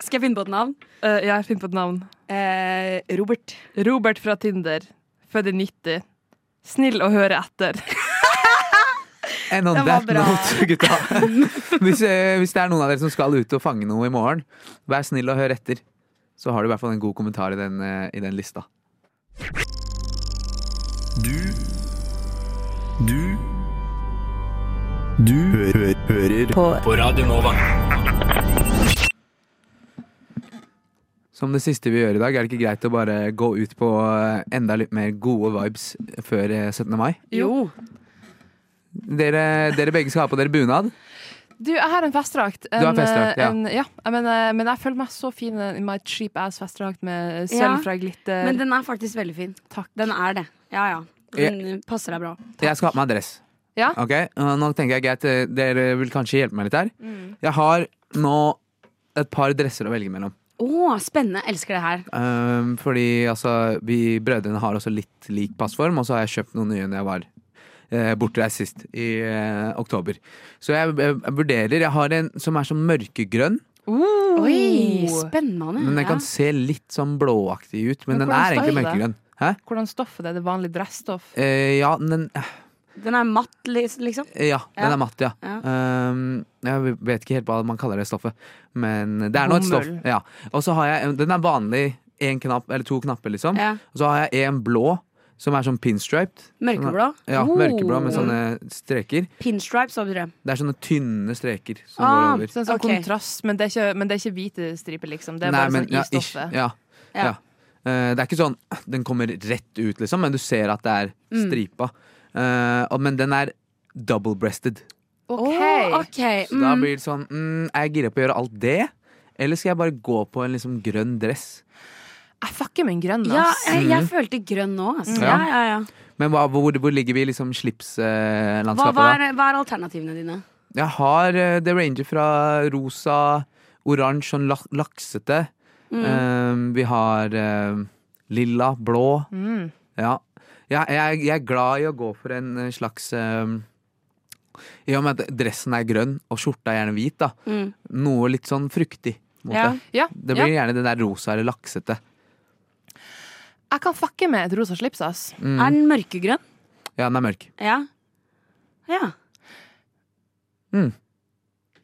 [SPEAKER 2] Skal jeg finne på et navn?
[SPEAKER 1] eh, jeg finner på et navn.
[SPEAKER 2] Eh, Robert.
[SPEAKER 1] Robert fra Tinder. Født i 90. Snill å høre etter.
[SPEAKER 3] and on
[SPEAKER 2] Det var
[SPEAKER 3] that
[SPEAKER 2] bra.
[SPEAKER 3] note, gutta. hvis, eh, hvis det er noen av dere som skal ut og fange noe i morgen, vær snill og hør etter. Så har du i hvert fall en god kommentar i den, eh, i den lista.
[SPEAKER 9] Du Du Du hø hø hører på. Radio Nova.
[SPEAKER 3] Som det siste vi gjør i dag, er det ikke greit å bare gå ut på eh, enda litt mer gode vibes før eh, 17. mai?
[SPEAKER 2] Jo. Eh.
[SPEAKER 3] Dere, dere begge skal ha på dere bunad.
[SPEAKER 1] Du, jeg har en festdrakt.
[SPEAKER 3] har
[SPEAKER 1] En, eh,
[SPEAKER 3] festdrakt, ja.
[SPEAKER 1] en- ja, jeg mener, eh, men jeg føler meg så fin i my cheap ass festdrakt med
[SPEAKER 2] Ja,
[SPEAKER 1] sølv fra glitter.
[SPEAKER 2] Men den er faktisk veldig fin.
[SPEAKER 1] Takk.
[SPEAKER 2] Den er det. Ja, ja. Den eh, passer deg bra.
[SPEAKER 3] Jeg skal ha på meg dress.
[SPEAKER 1] Ja.
[SPEAKER 3] Ok, og Nå tenker jeg greit, eh, dere vil kanskje hjelpe meg litt her. Jeg har nå et par dresser å velge mellom.
[SPEAKER 2] Å, spennende. Elsker det her.
[SPEAKER 3] Um, fordi altså, vi brødrene har også litt lik passform, og så har jeg kjøpt noen nye når jeg var eh, bortreist sist, i eh, oktober. Så jeg, jeg, jeg vurderer Jeg har en som er sånn mørkegrønn,
[SPEAKER 2] Oi,
[SPEAKER 1] Oh.
[SPEAKER 2] spennende.
[SPEAKER 3] men den
[SPEAKER 2] ja.
[SPEAKER 3] kan se litt sånn blåaktig ut. Men,
[SPEAKER 1] Men
[SPEAKER 3] den er
[SPEAKER 1] hvordan
[SPEAKER 3] egentlig
[SPEAKER 1] farge er det?
[SPEAKER 3] mørkegrønn. Hæ?
[SPEAKER 1] Hvordan stoffet er det? Vanlig dressstoff?
[SPEAKER 3] Eh, ja, den, eh,
[SPEAKER 2] Den er matt, lis- liksom.
[SPEAKER 3] ja, den
[SPEAKER 2] Ja.
[SPEAKER 3] er matt, ja.
[SPEAKER 2] Ja.
[SPEAKER 3] Um, jeg vet ikke helt hva man kaller det stoffet, men det er nå et stoff.
[SPEAKER 1] Bomull.
[SPEAKER 3] Ja. Og så har jeg eh, Den er vanlig én knapp, eller to knapper, liksom.
[SPEAKER 2] Ja.
[SPEAKER 3] Og så har jeg en blå, som er sånn pinstriped.
[SPEAKER 2] Mørkeblå.
[SPEAKER 3] Ja,
[SPEAKER 2] Oh.
[SPEAKER 3] mørkeblå sånn, eh, med sånne streker.
[SPEAKER 2] Pinstripes, hva betyr det?
[SPEAKER 3] Det er sånne tynne streker som
[SPEAKER 2] Ah,
[SPEAKER 3] går over.
[SPEAKER 1] Sånn, sånn
[SPEAKER 2] Ok.
[SPEAKER 1] kontrast, men det, er ikke, men det er ikke hvite striper, liksom. Det er bare sånn
[SPEAKER 3] ja,
[SPEAKER 1] i stoffet.
[SPEAKER 3] ish, ja, ja.
[SPEAKER 2] Ja.
[SPEAKER 3] Eh, det er ikke sånn den kommer rett ut, liksom, men du ser at det er stripa. Eh, og- men den er double-breasted.
[SPEAKER 1] Ok.
[SPEAKER 2] Å, ok,
[SPEAKER 3] Så da
[SPEAKER 2] mm.
[SPEAKER 3] blir det sånn mm, Er jeg gira på å gjøre alt det? Eller skal jeg bare gå på en liksom grønn dress?
[SPEAKER 1] Jeg fucker med en grønn,
[SPEAKER 2] Ja,
[SPEAKER 1] ass.
[SPEAKER 2] jeg, jeg følte grønn nå, altså.
[SPEAKER 3] Mm.
[SPEAKER 2] Ja, ja, ja.
[SPEAKER 3] Men hva, hvor, hvor ligger vi i liksom
[SPEAKER 2] Hva, hva,
[SPEAKER 3] slipslandskapet, da?
[SPEAKER 2] er, hva er alternativene dine?
[SPEAKER 3] Jeg har eh, The Ranger fra rosa, oransje, sånn lak laksete.
[SPEAKER 2] Mm,
[SPEAKER 3] Eh, vi har eh, lilla, blå.
[SPEAKER 1] Mm.
[SPEAKER 3] Ja. Jeg, jeg, jeg er glad i å gå for en eh, slags eh, I og med at dressen er grønn og skjorta er gjerne hvit, da.
[SPEAKER 2] Mm.
[SPEAKER 3] Noe litt sånn fruktig. mot
[SPEAKER 2] Ja.
[SPEAKER 3] det.
[SPEAKER 1] Ja,
[SPEAKER 3] det blir gjerne det der rosa eller laksete.
[SPEAKER 1] ja. Jeg kan fucke med et rosa slips, ass.
[SPEAKER 3] Mm.
[SPEAKER 2] Er den mørkegrønn?
[SPEAKER 3] Ja, den er mørk.
[SPEAKER 2] Ja. Ja.
[SPEAKER 3] Mm.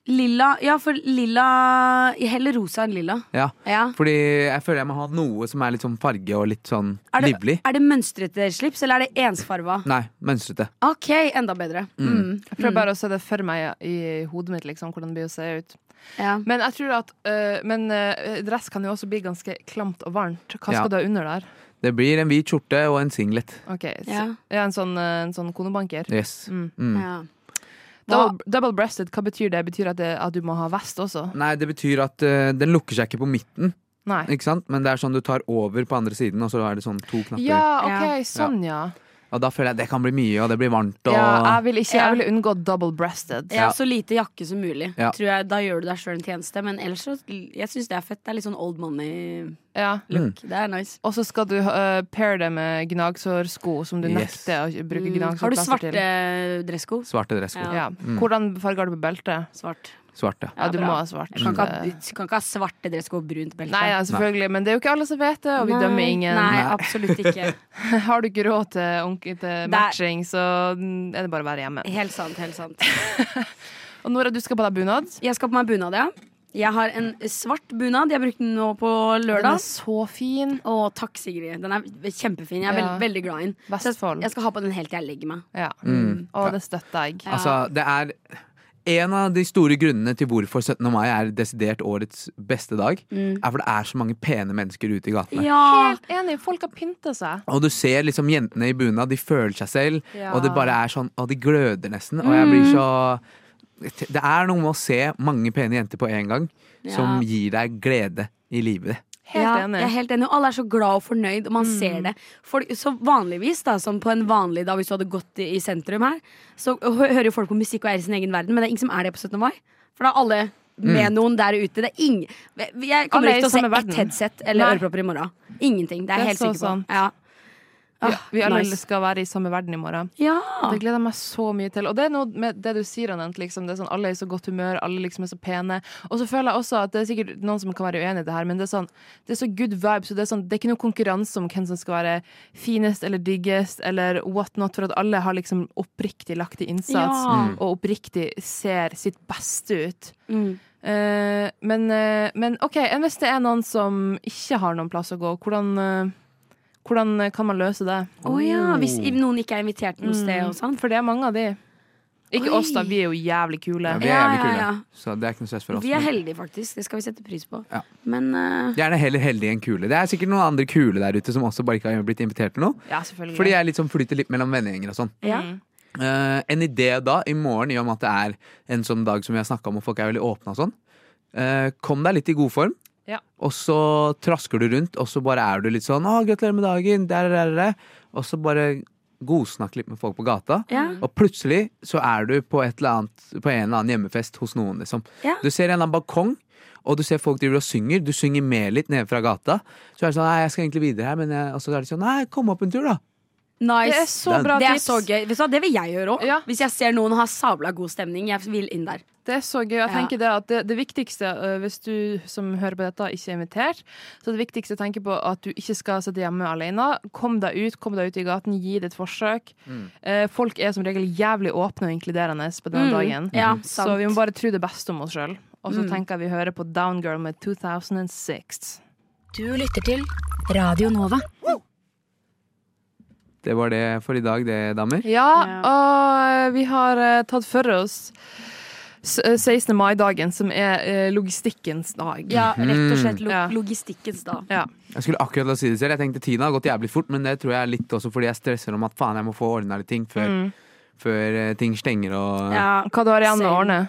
[SPEAKER 2] Lilla Ja, for lilla Heller rosa enn lilla.
[SPEAKER 3] Ja.
[SPEAKER 2] Ja.
[SPEAKER 3] Fordi jeg føler jeg må ha noe som er litt sånn farge og litt sånn
[SPEAKER 2] Er det-
[SPEAKER 3] livlig.
[SPEAKER 2] Er det mønstrete slips, eller er det ensfarva?
[SPEAKER 3] Nei, mønstrete.
[SPEAKER 2] OK, enda bedre. Mm.
[SPEAKER 3] Mm.
[SPEAKER 1] Jeg prøver bare å se det for meg i hodet mitt, liksom, hvordan det blir å se ut.
[SPEAKER 2] Ja.
[SPEAKER 1] Men jeg tror at øh, Men øh, dress kan jo også bli ganske klamt og varmt. Hva skal
[SPEAKER 3] Ja.
[SPEAKER 1] du ha under der?
[SPEAKER 3] Det blir en hvit skjorte og en singlet.
[SPEAKER 1] Ok, så, ja.
[SPEAKER 2] Ja.
[SPEAKER 1] En sånn, øh, en sånn konebanker.
[SPEAKER 3] Yes.
[SPEAKER 1] Mm.
[SPEAKER 3] Mm.
[SPEAKER 2] ja.
[SPEAKER 1] Double, breasted, hva betyr det? Betyr at, det at du må ha vest også?
[SPEAKER 3] Nei, det betyr at eh, den lukker seg ikke på midten,
[SPEAKER 1] Nei.
[SPEAKER 3] ikke sant? men det er sånn du tar over på andre siden, og så er det sånn to knapper.
[SPEAKER 1] Ja, OK, sånn, ja.
[SPEAKER 3] Og Og da føler jeg det kan bli mye, og det blir varmt og
[SPEAKER 1] Ja, jeg vil ikke, jeg vil unngå double breasted.
[SPEAKER 2] Ja, Så lite jakke som mulig.
[SPEAKER 3] Ja.
[SPEAKER 2] Tror jeg, da gjør du deg sjøl en tjeneste. Men ellers så jeg syns det er fett. Det er litt sånn old money-look.
[SPEAKER 1] Ja.
[SPEAKER 2] Det er nice.
[SPEAKER 1] Og så skal du eh, pair det med gnagsårsko, som du
[SPEAKER 3] Yes.
[SPEAKER 1] nekter å bruke
[SPEAKER 2] Mm, Har du
[SPEAKER 1] gnagsårplasser til.
[SPEAKER 2] svarte dressko?
[SPEAKER 3] svarte dressko.
[SPEAKER 2] Ja.
[SPEAKER 1] Ja. Hvordan farge har du på beltet?
[SPEAKER 2] Svart.
[SPEAKER 3] Svarte.
[SPEAKER 1] Ja, du
[SPEAKER 2] bra.
[SPEAKER 1] må ha svart.
[SPEAKER 2] Jeg kan ikke
[SPEAKER 1] Eh,
[SPEAKER 2] ha, du kan ikke ha svarte dressko og brunt belte.
[SPEAKER 1] Nei, ja, selvfølgelig, men det er jo ikke alle som vet det, og vi dømmer ingen.
[SPEAKER 2] Nei, absolutt ikke.
[SPEAKER 1] Har du ikke råd til, onk- til matching, så mm, er det bare å være hjemme.
[SPEAKER 2] Helt sant. helt sant
[SPEAKER 1] Og Nora, du skal på deg bunad.
[SPEAKER 2] Jeg skal på meg bunad, ja. Jeg har en svart bunad. Jeg brukte den nå på
[SPEAKER 1] Den er
[SPEAKER 2] lørdag.
[SPEAKER 1] så fin.
[SPEAKER 2] Å, takk, Sigrid. Den er kjempefin. Jeg er
[SPEAKER 1] Ja.
[SPEAKER 2] veld, veldig glad i den. Så jeg-
[SPEAKER 1] Vestfold.
[SPEAKER 2] Jeg skal ha på den helt til jeg legger meg.
[SPEAKER 1] Ja.
[SPEAKER 3] Mm.
[SPEAKER 1] Og det støtter jeg.
[SPEAKER 3] Altså, det er en av de store grunnene til hvorfor 17. mai er desidert årets beste dag, er for det er så mange pene mennesker ute i gatene.
[SPEAKER 2] Ja.
[SPEAKER 1] Helt enig. Folk har pynta seg.
[SPEAKER 3] Og du ser liksom jentene i bunad, de føler seg selv,
[SPEAKER 1] Ja.
[SPEAKER 3] og det bare er sånn Og de gløder nesten, og jeg blir så Det er noe med å se mange pene jenter på en gang som
[SPEAKER 2] Ja.
[SPEAKER 3] gir deg glede i livet.
[SPEAKER 1] Helt
[SPEAKER 2] ja,
[SPEAKER 1] enig. Mm.
[SPEAKER 2] Jeg er helt enig. og Alle er så glad og fornøyd, og man ser det. Folk, så vanligvis, da, som på en vanlig dag hvis du hadde gått i, i sentrum her, så hø hører jo folk på musikk og er i sin egen verden, men det er ingen som er det på 17. mai. For da er alle med noen der ute. Det er ingen Jeg
[SPEAKER 1] Mm. Alle
[SPEAKER 2] kommer
[SPEAKER 1] er i
[SPEAKER 2] ikke til å se
[SPEAKER 1] samme verden.
[SPEAKER 2] ett headset eller
[SPEAKER 1] Nei.
[SPEAKER 2] ørepropper i morgen. Ingenting. Det
[SPEAKER 1] Det er
[SPEAKER 2] er jeg helt
[SPEAKER 1] så
[SPEAKER 2] sikker på.
[SPEAKER 1] sant.
[SPEAKER 2] Ja. Ah,
[SPEAKER 1] Vi, vi alle
[SPEAKER 2] nice.
[SPEAKER 1] skal være i samme verden i morgen.
[SPEAKER 2] ja.
[SPEAKER 1] Det gleder jeg meg så mye til. Og det er noe med det du sier, Anent. Liksom. Det er sånn, alle er i så godt humør, alle liksom er så pene. Og så føler jeg også at det er sikkert noen som kan være uenig i det her, men det er sånn Det er så good vibes, og det er sånn Det er ikke noe konkurranse om hvem som skal være finest eller diggest eller what not, for at alle har liksom oppriktig lagt i innsats
[SPEAKER 2] Ja.
[SPEAKER 1] og oppriktig ser sitt beste ut.
[SPEAKER 2] Mm.
[SPEAKER 1] Eh, men, eh, men OK, enn hvis det er noen som ikke har noen plass å gå, hvordan, eh, hvordan kan man løse det?
[SPEAKER 2] Å ja. Hvis
[SPEAKER 1] Oh.
[SPEAKER 2] i- noen ikke er invitert noe sted
[SPEAKER 1] Mm.
[SPEAKER 2] og sånn.
[SPEAKER 1] For det er mange av de. Ikke
[SPEAKER 2] Oi.
[SPEAKER 1] oss, da. Vi er jo jævlig kule.
[SPEAKER 3] Ja, vi er
[SPEAKER 2] Ja,
[SPEAKER 3] jævlig
[SPEAKER 2] ja,
[SPEAKER 3] kule,
[SPEAKER 2] ja.
[SPEAKER 3] så det er ikke noe stress for oss.
[SPEAKER 2] Vi er
[SPEAKER 3] men
[SPEAKER 2] heldige, faktisk. Det skal vi sette pris på.
[SPEAKER 3] Ja.
[SPEAKER 2] Men eh,
[SPEAKER 3] Gjerne heller heldig enn kule. Det er sikkert noen andre kule der ute som også bare ikke har blitt invitert til noe.
[SPEAKER 1] Ja, selvfølgelig.
[SPEAKER 3] Fordi jeg liksom flyter litt mellom vennegjenger og sånn.
[SPEAKER 2] ja.
[SPEAKER 1] Mm.
[SPEAKER 3] Eh, en idé da, i morgen, i og med at det er en sånn dag som vi har snakka om, og folk er veldig åpne og sånn. Eh, kom deg litt i god form,
[SPEAKER 1] Ja.
[SPEAKER 3] og så trasker du rundt, og så bare er du litt sånn 'Å, gratulerer med dagen', der, der, der. Og så bare godsnakk litt med folk på gata.
[SPEAKER 2] Ja.
[SPEAKER 3] Og plutselig så er du på, et eller annet, på en eller annen hjemmefest hos noen, liksom.
[SPEAKER 2] Ja.
[SPEAKER 3] Du ser en eller annen balkong, og du ser folk driver og synger. Du synger med litt nede fra gata. Så er det sånn 'Nei, jeg skal egentlig videre her', men jeg, og så er det sånn 'Nei, kom opp en tur, da'.
[SPEAKER 2] Nice.
[SPEAKER 1] Det er så bra
[SPEAKER 2] Det er
[SPEAKER 1] tips.
[SPEAKER 2] så gøy. Vet du hva, det vil jeg gjøre òg.
[SPEAKER 1] Ja.
[SPEAKER 2] Hvis jeg ser noen har sabla god stemning. Jeg vil inn der.
[SPEAKER 1] Det er så gøy. Jeg
[SPEAKER 2] Ja.
[SPEAKER 1] tenker det, at det, det viktigste, øh, hvis du som hører på dette, ikke er invitert, så det viktigste å tenke på at du ikke skal sitte hjemme alene. Kom deg ut, kom deg ut i gaten, gi det et forsøk.
[SPEAKER 3] Mm.
[SPEAKER 1] Eh, folk er som regel jævlig åpne og inkluderende på denne
[SPEAKER 2] Mm.
[SPEAKER 1] dagen.
[SPEAKER 2] Ja, sant.
[SPEAKER 1] Så vi må bare tro det beste om oss sjøl. Og så
[SPEAKER 2] Mm.
[SPEAKER 1] tenker jeg vi hører på Downgirl med 2006.
[SPEAKER 5] Du lytter til Radio Nova.
[SPEAKER 3] Det var det for i dag, det, damer.
[SPEAKER 1] Ja, og vi har eh, tatt for oss s- eh, 16. mai-dagen, som er eh, logistikkens dag.
[SPEAKER 2] Ja,
[SPEAKER 3] Mhm.
[SPEAKER 2] rett og slett lo
[SPEAKER 1] Ja.
[SPEAKER 2] logistikkens da.
[SPEAKER 3] Jeg skulle akkurat la si det selv. Jeg tenkte tiden har gått jævlig fort, men det tror jeg er litt også fordi jeg stresser om at faen, jeg må få ordna litt ting før,
[SPEAKER 1] Mm.
[SPEAKER 3] før eh, ting stenger og
[SPEAKER 2] Ja.
[SPEAKER 1] Hva du har igjen å
[SPEAKER 2] Same.
[SPEAKER 1] ordne?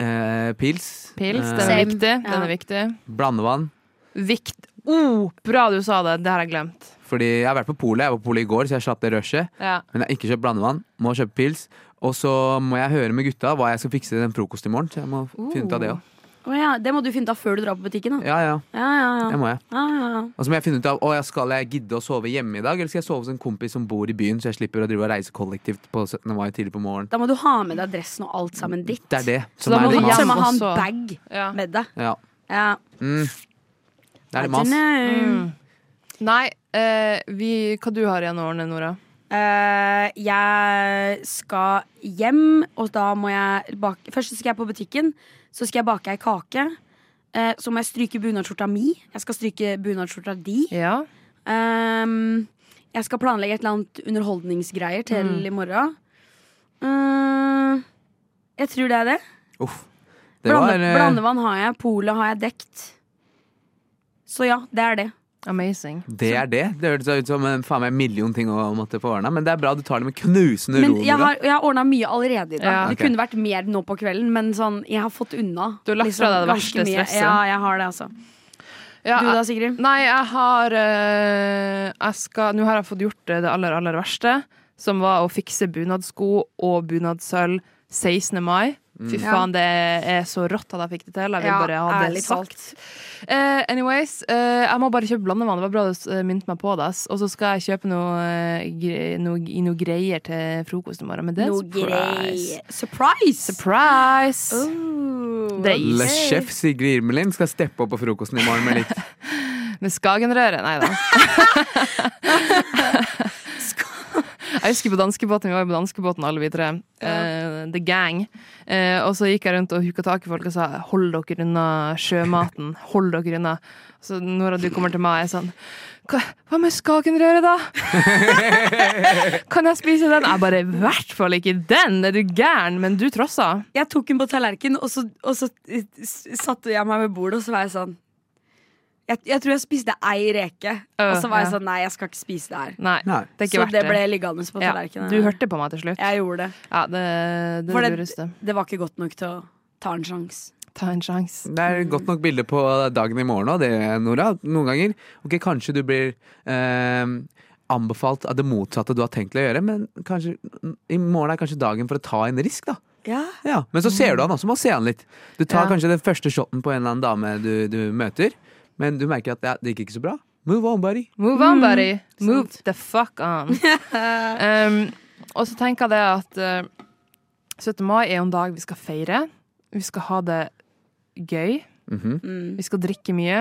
[SPEAKER 3] eh, pils.
[SPEAKER 1] Pils, den er
[SPEAKER 3] eh,
[SPEAKER 2] Same.
[SPEAKER 1] viktig. Den
[SPEAKER 2] Ja.
[SPEAKER 1] er viktig.
[SPEAKER 3] blandevann.
[SPEAKER 1] Vikt. Oh, bra du sa det! Det har jeg glemt.
[SPEAKER 3] Fordi jeg har vært på polet. Jeg var på polet i går, så jeg slapp det rushet.
[SPEAKER 1] Ja.
[SPEAKER 3] Men jeg har ikke kjøpt blandevann. Må kjøpe pils. Og så må jeg høre med gutta hva jeg skal fikse til den frokost i morgen. Så jeg må finne ut av det òg.
[SPEAKER 2] Å ja, det må du finne ut av før du drar på butikken. Da.
[SPEAKER 3] Ja, ja.
[SPEAKER 2] Ja, ja, ja.
[SPEAKER 3] Det må jeg.
[SPEAKER 2] Ja, ja, ja.
[SPEAKER 3] Og så må jeg finne ut av å, ja, skal jeg gidde å sove hjemme i dag, eller skal jeg sove hos en kompis som bor i byen, så jeg slipper å drive og reise kollektivt på 17. mai tidlig på morgenen.
[SPEAKER 2] Da må du ha med deg dressen og alt sammen ditt.
[SPEAKER 3] Det er det.
[SPEAKER 1] da
[SPEAKER 3] er
[SPEAKER 1] må
[SPEAKER 2] Du
[SPEAKER 3] litt
[SPEAKER 1] du
[SPEAKER 2] må
[SPEAKER 1] hjem
[SPEAKER 3] mas.
[SPEAKER 2] til og med ha en
[SPEAKER 1] også.
[SPEAKER 2] bag
[SPEAKER 1] Ja.
[SPEAKER 2] med deg.
[SPEAKER 3] Ja.
[SPEAKER 2] Ja. mm.
[SPEAKER 3] Mm. Det er
[SPEAKER 2] I
[SPEAKER 3] litt mas.
[SPEAKER 2] dunno.
[SPEAKER 1] Nei, eh, vi, hva du har igjen å ordne, Nora?
[SPEAKER 2] Eh, jeg skal hjem, og da må jeg bake Først så skal jeg på butikken, så skal jeg bake ei kake. Eh, så må jeg stryke bunadsskjorta mi. Jeg skal stryke bunadsskjorta di.
[SPEAKER 1] Ja.
[SPEAKER 2] Ehm, jeg skal planlegge et eller annet underholdningsgreier til
[SPEAKER 3] Mm.
[SPEAKER 2] i morgen. Ehm, jeg tror det er det.
[SPEAKER 3] Uff. Det
[SPEAKER 2] Blande,
[SPEAKER 3] var eh,
[SPEAKER 2] Blandevann har jeg, polet har jeg dekt. Så ja, det er det.
[SPEAKER 1] Amazing.
[SPEAKER 3] Det er det. Det hørtes ut som en faen meg million ting å måtte få ordna, men det er bra du tar det med knusende
[SPEAKER 2] Men
[SPEAKER 3] ro.
[SPEAKER 2] jeg
[SPEAKER 3] Nora.
[SPEAKER 2] har, jeg har ordna mye allerede i dag.
[SPEAKER 1] Ja.
[SPEAKER 2] Det
[SPEAKER 3] Ok.
[SPEAKER 2] kunne vært mer nå på kvelden, men sånn, jeg har fått unna. liksom.
[SPEAKER 1] Du har lagt fra deg det
[SPEAKER 2] ganske
[SPEAKER 1] verste
[SPEAKER 2] mye.
[SPEAKER 1] stresset.
[SPEAKER 2] Ja, jeg har det, altså.
[SPEAKER 1] Ja,
[SPEAKER 2] Du da, Sigrid?
[SPEAKER 1] Nei, jeg har eh, Jeg skal Nå har jeg fått gjort eh, det aller, aller verste. som var å fikse bunadsko og bunadsølv 16. mai.
[SPEAKER 2] Mm.
[SPEAKER 1] Fy faen, det er så rått at jeg fikk det til. Jeg vil bare ha det
[SPEAKER 2] ærlig
[SPEAKER 1] sagt.
[SPEAKER 2] talt.
[SPEAKER 1] Eh, anyways, eh, jeg må bare kjøpe blandevann. Det var bra du eh, minte meg på det. ass. Og så skal jeg kjøpe noe, eh, gre noe, noe greier til frokost i morgen. Men det er
[SPEAKER 2] Noe
[SPEAKER 1] surprise.
[SPEAKER 2] grei. Surprise!
[SPEAKER 1] Surprise!
[SPEAKER 2] Oh.
[SPEAKER 1] Det er
[SPEAKER 3] Le
[SPEAKER 1] is.
[SPEAKER 3] chef Sigrid Irmelin skal steppe opp på frokosten i morgen med litt
[SPEAKER 1] Med Skagenrøret? Nei da. Jeg husker på danskebåten, Vi var jo på danskebåten alle vi tre. Eh, the gang. Eh, og så gikk jeg rundt og huka tak i folk og sa 'hold dere unna sjømaten'. hold dere unna. Så når du kommer til meg, er jeg sånn Hva, hva med Skagenrøret, da? kan jeg spise den? Jeg bare I hvert fall ikke den! Er du gæren? Men du trossa.
[SPEAKER 2] Jeg tok den på tallerken, og så, og så eh, s- satte jeg meg ved bordet, og så var jeg sånn Jeg, jeg tror jeg spiste ei reke,
[SPEAKER 1] Øh,
[SPEAKER 2] og så var jeg
[SPEAKER 1] ja.
[SPEAKER 2] sånn Nei, jeg skal ikke spise det her.
[SPEAKER 1] Nei.
[SPEAKER 3] Nei.
[SPEAKER 1] Det er ikke
[SPEAKER 2] Så
[SPEAKER 1] verdt
[SPEAKER 2] det
[SPEAKER 1] det.
[SPEAKER 2] ble liggende på
[SPEAKER 1] ja,
[SPEAKER 2] tallerkenen.
[SPEAKER 1] du hørte på meg til slutt.
[SPEAKER 2] Jeg gjorde det.
[SPEAKER 1] Ja, det, det
[SPEAKER 2] For
[SPEAKER 1] er det
[SPEAKER 2] det-
[SPEAKER 1] lureste.
[SPEAKER 2] Det var ikke godt nok til å ta en sjanse.
[SPEAKER 1] Ta en sjanse.
[SPEAKER 3] Det er et godt nok bilde på dagen i morgen òg, det, Nora. Noen ganger. Ok, kanskje du blir eh, anbefalt av det motsatte du har tenkt til å gjøre, men kanskje i morgen er kanskje dagen for å ta en risk, da.
[SPEAKER 2] Ja.
[SPEAKER 3] Ja, Men så ser du han også, må se han litt. Du
[SPEAKER 1] Ja.
[SPEAKER 3] tar kanskje den første shoten på en eller annen dame du, du møter, men du merker at ja, det gikk ikke så bra. Move on, buddy.
[SPEAKER 1] Move on, buddy. Move the fuck on.
[SPEAKER 2] Eh,
[SPEAKER 1] um, og så tenker jeg det at uh, 17. mai er jo en dag vi skal feire. Vi skal ha det gøy.
[SPEAKER 3] Mhm.
[SPEAKER 2] mm.
[SPEAKER 1] Vi skal drikke mye.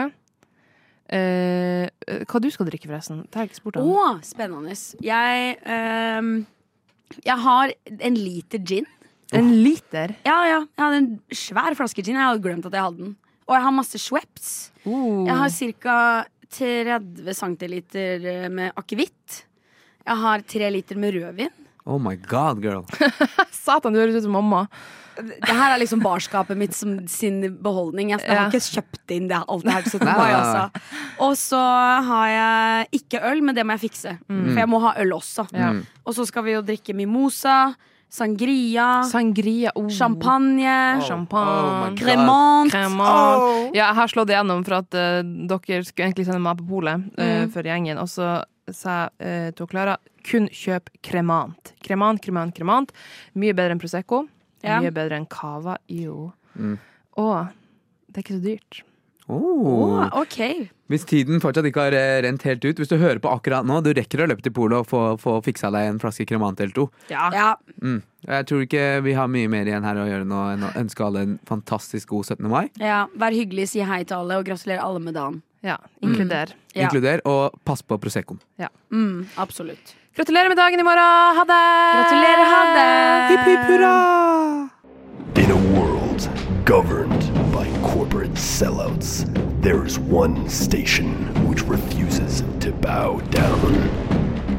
[SPEAKER 1] Eh, hva du skal drikke, forresten? Det har jeg ikke spurt
[SPEAKER 2] Å,
[SPEAKER 1] om.
[SPEAKER 2] spennende. Jeg ehm, Jeg har en liter gin.
[SPEAKER 1] En liter?
[SPEAKER 2] Ja, ja. Jeg hadde en svær flaske gin. Jeg hadde glemt at jeg hadde den. Og jeg har masse Schweppes. Jeg har ca. 30 centiliter eh, med akevitt. Jeg har tre liter med rødvin.
[SPEAKER 3] Oh my god, girl.
[SPEAKER 1] Satan, du høres ut som mamma.
[SPEAKER 2] Det her er liksom barskapet mitt som sin beholdning. Jeg, jeg
[SPEAKER 1] Ja.
[SPEAKER 2] har ikke kjøpt inn det, alt det her. til 17.
[SPEAKER 3] Nei, nei,
[SPEAKER 2] mai,
[SPEAKER 3] nei.
[SPEAKER 2] altså. Og så har jeg ikke øl, men det må jeg fikse. For jeg må ha øl også.
[SPEAKER 1] Ja.
[SPEAKER 2] Og så skal vi jo drikke mimosa, sangria,
[SPEAKER 1] Sangria. Oh.
[SPEAKER 2] Ah. champagne,
[SPEAKER 3] Oh my
[SPEAKER 1] Champagne.
[SPEAKER 3] God.
[SPEAKER 2] cremant.
[SPEAKER 1] Cremant. Ja, jeg har slått igjennom for at eh, dere skulle egentlig sende meg på polet eh,
[SPEAKER 2] Mm.
[SPEAKER 1] for gjengen. Og så sa jeg eh, til Klara kun kjøp kremant. Kremant, kremant, kremant. Mye bedre enn Prosecco.
[SPEAKER 2] Ja.
[SPEAKER 1] Mye bedre enn Cava. Jo. Og det er ikke så dyrt.
[SPEAKER 3] Oh.
[SPEAKER 2] Å, ok.
[SPEAKER 3] Hvis tiden fortsatt ikke har eh, rent helt ut, hvis du hører på akkurat nå, du rekker å løpe til polet og få, få fiksa deg en flaske kremant eller to.
[SPEAKER 2] Ja.
[SPEAKER 3] Mm. Jeg tror ikke vi har mye mer igjen her å gjøre nå enn å ønske alle en fantastisk god 17. mai.
[SPEAKER 2] ja. Vær hyggelig, si hei til alle, og gratulerer alle med dagen.
[SPEAKER 1] Ja,
[SPEAKER 2] Mm.
[SPEAKER 1] inkluder.
[SPEAKER 2] Ja.
[SPEAKER 3] Inkluder og pass på Proseccoen.
[SPEAKER 2] Mm, absolutt.
[SPEAKER 1] Gratulerer med dagen i morgen! Ha det!
[SPEAKER 2] Gratulerer, ha det!
[SPEAKER 3] Hipp, hipp hurra!
[SPEAKER 9] In a world governed by corporate sellouts, there is one station which refuses to bow down,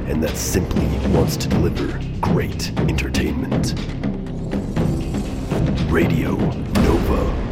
[SPEAKER 9] and that simply wants to deliver great entertainment. Radio Nova.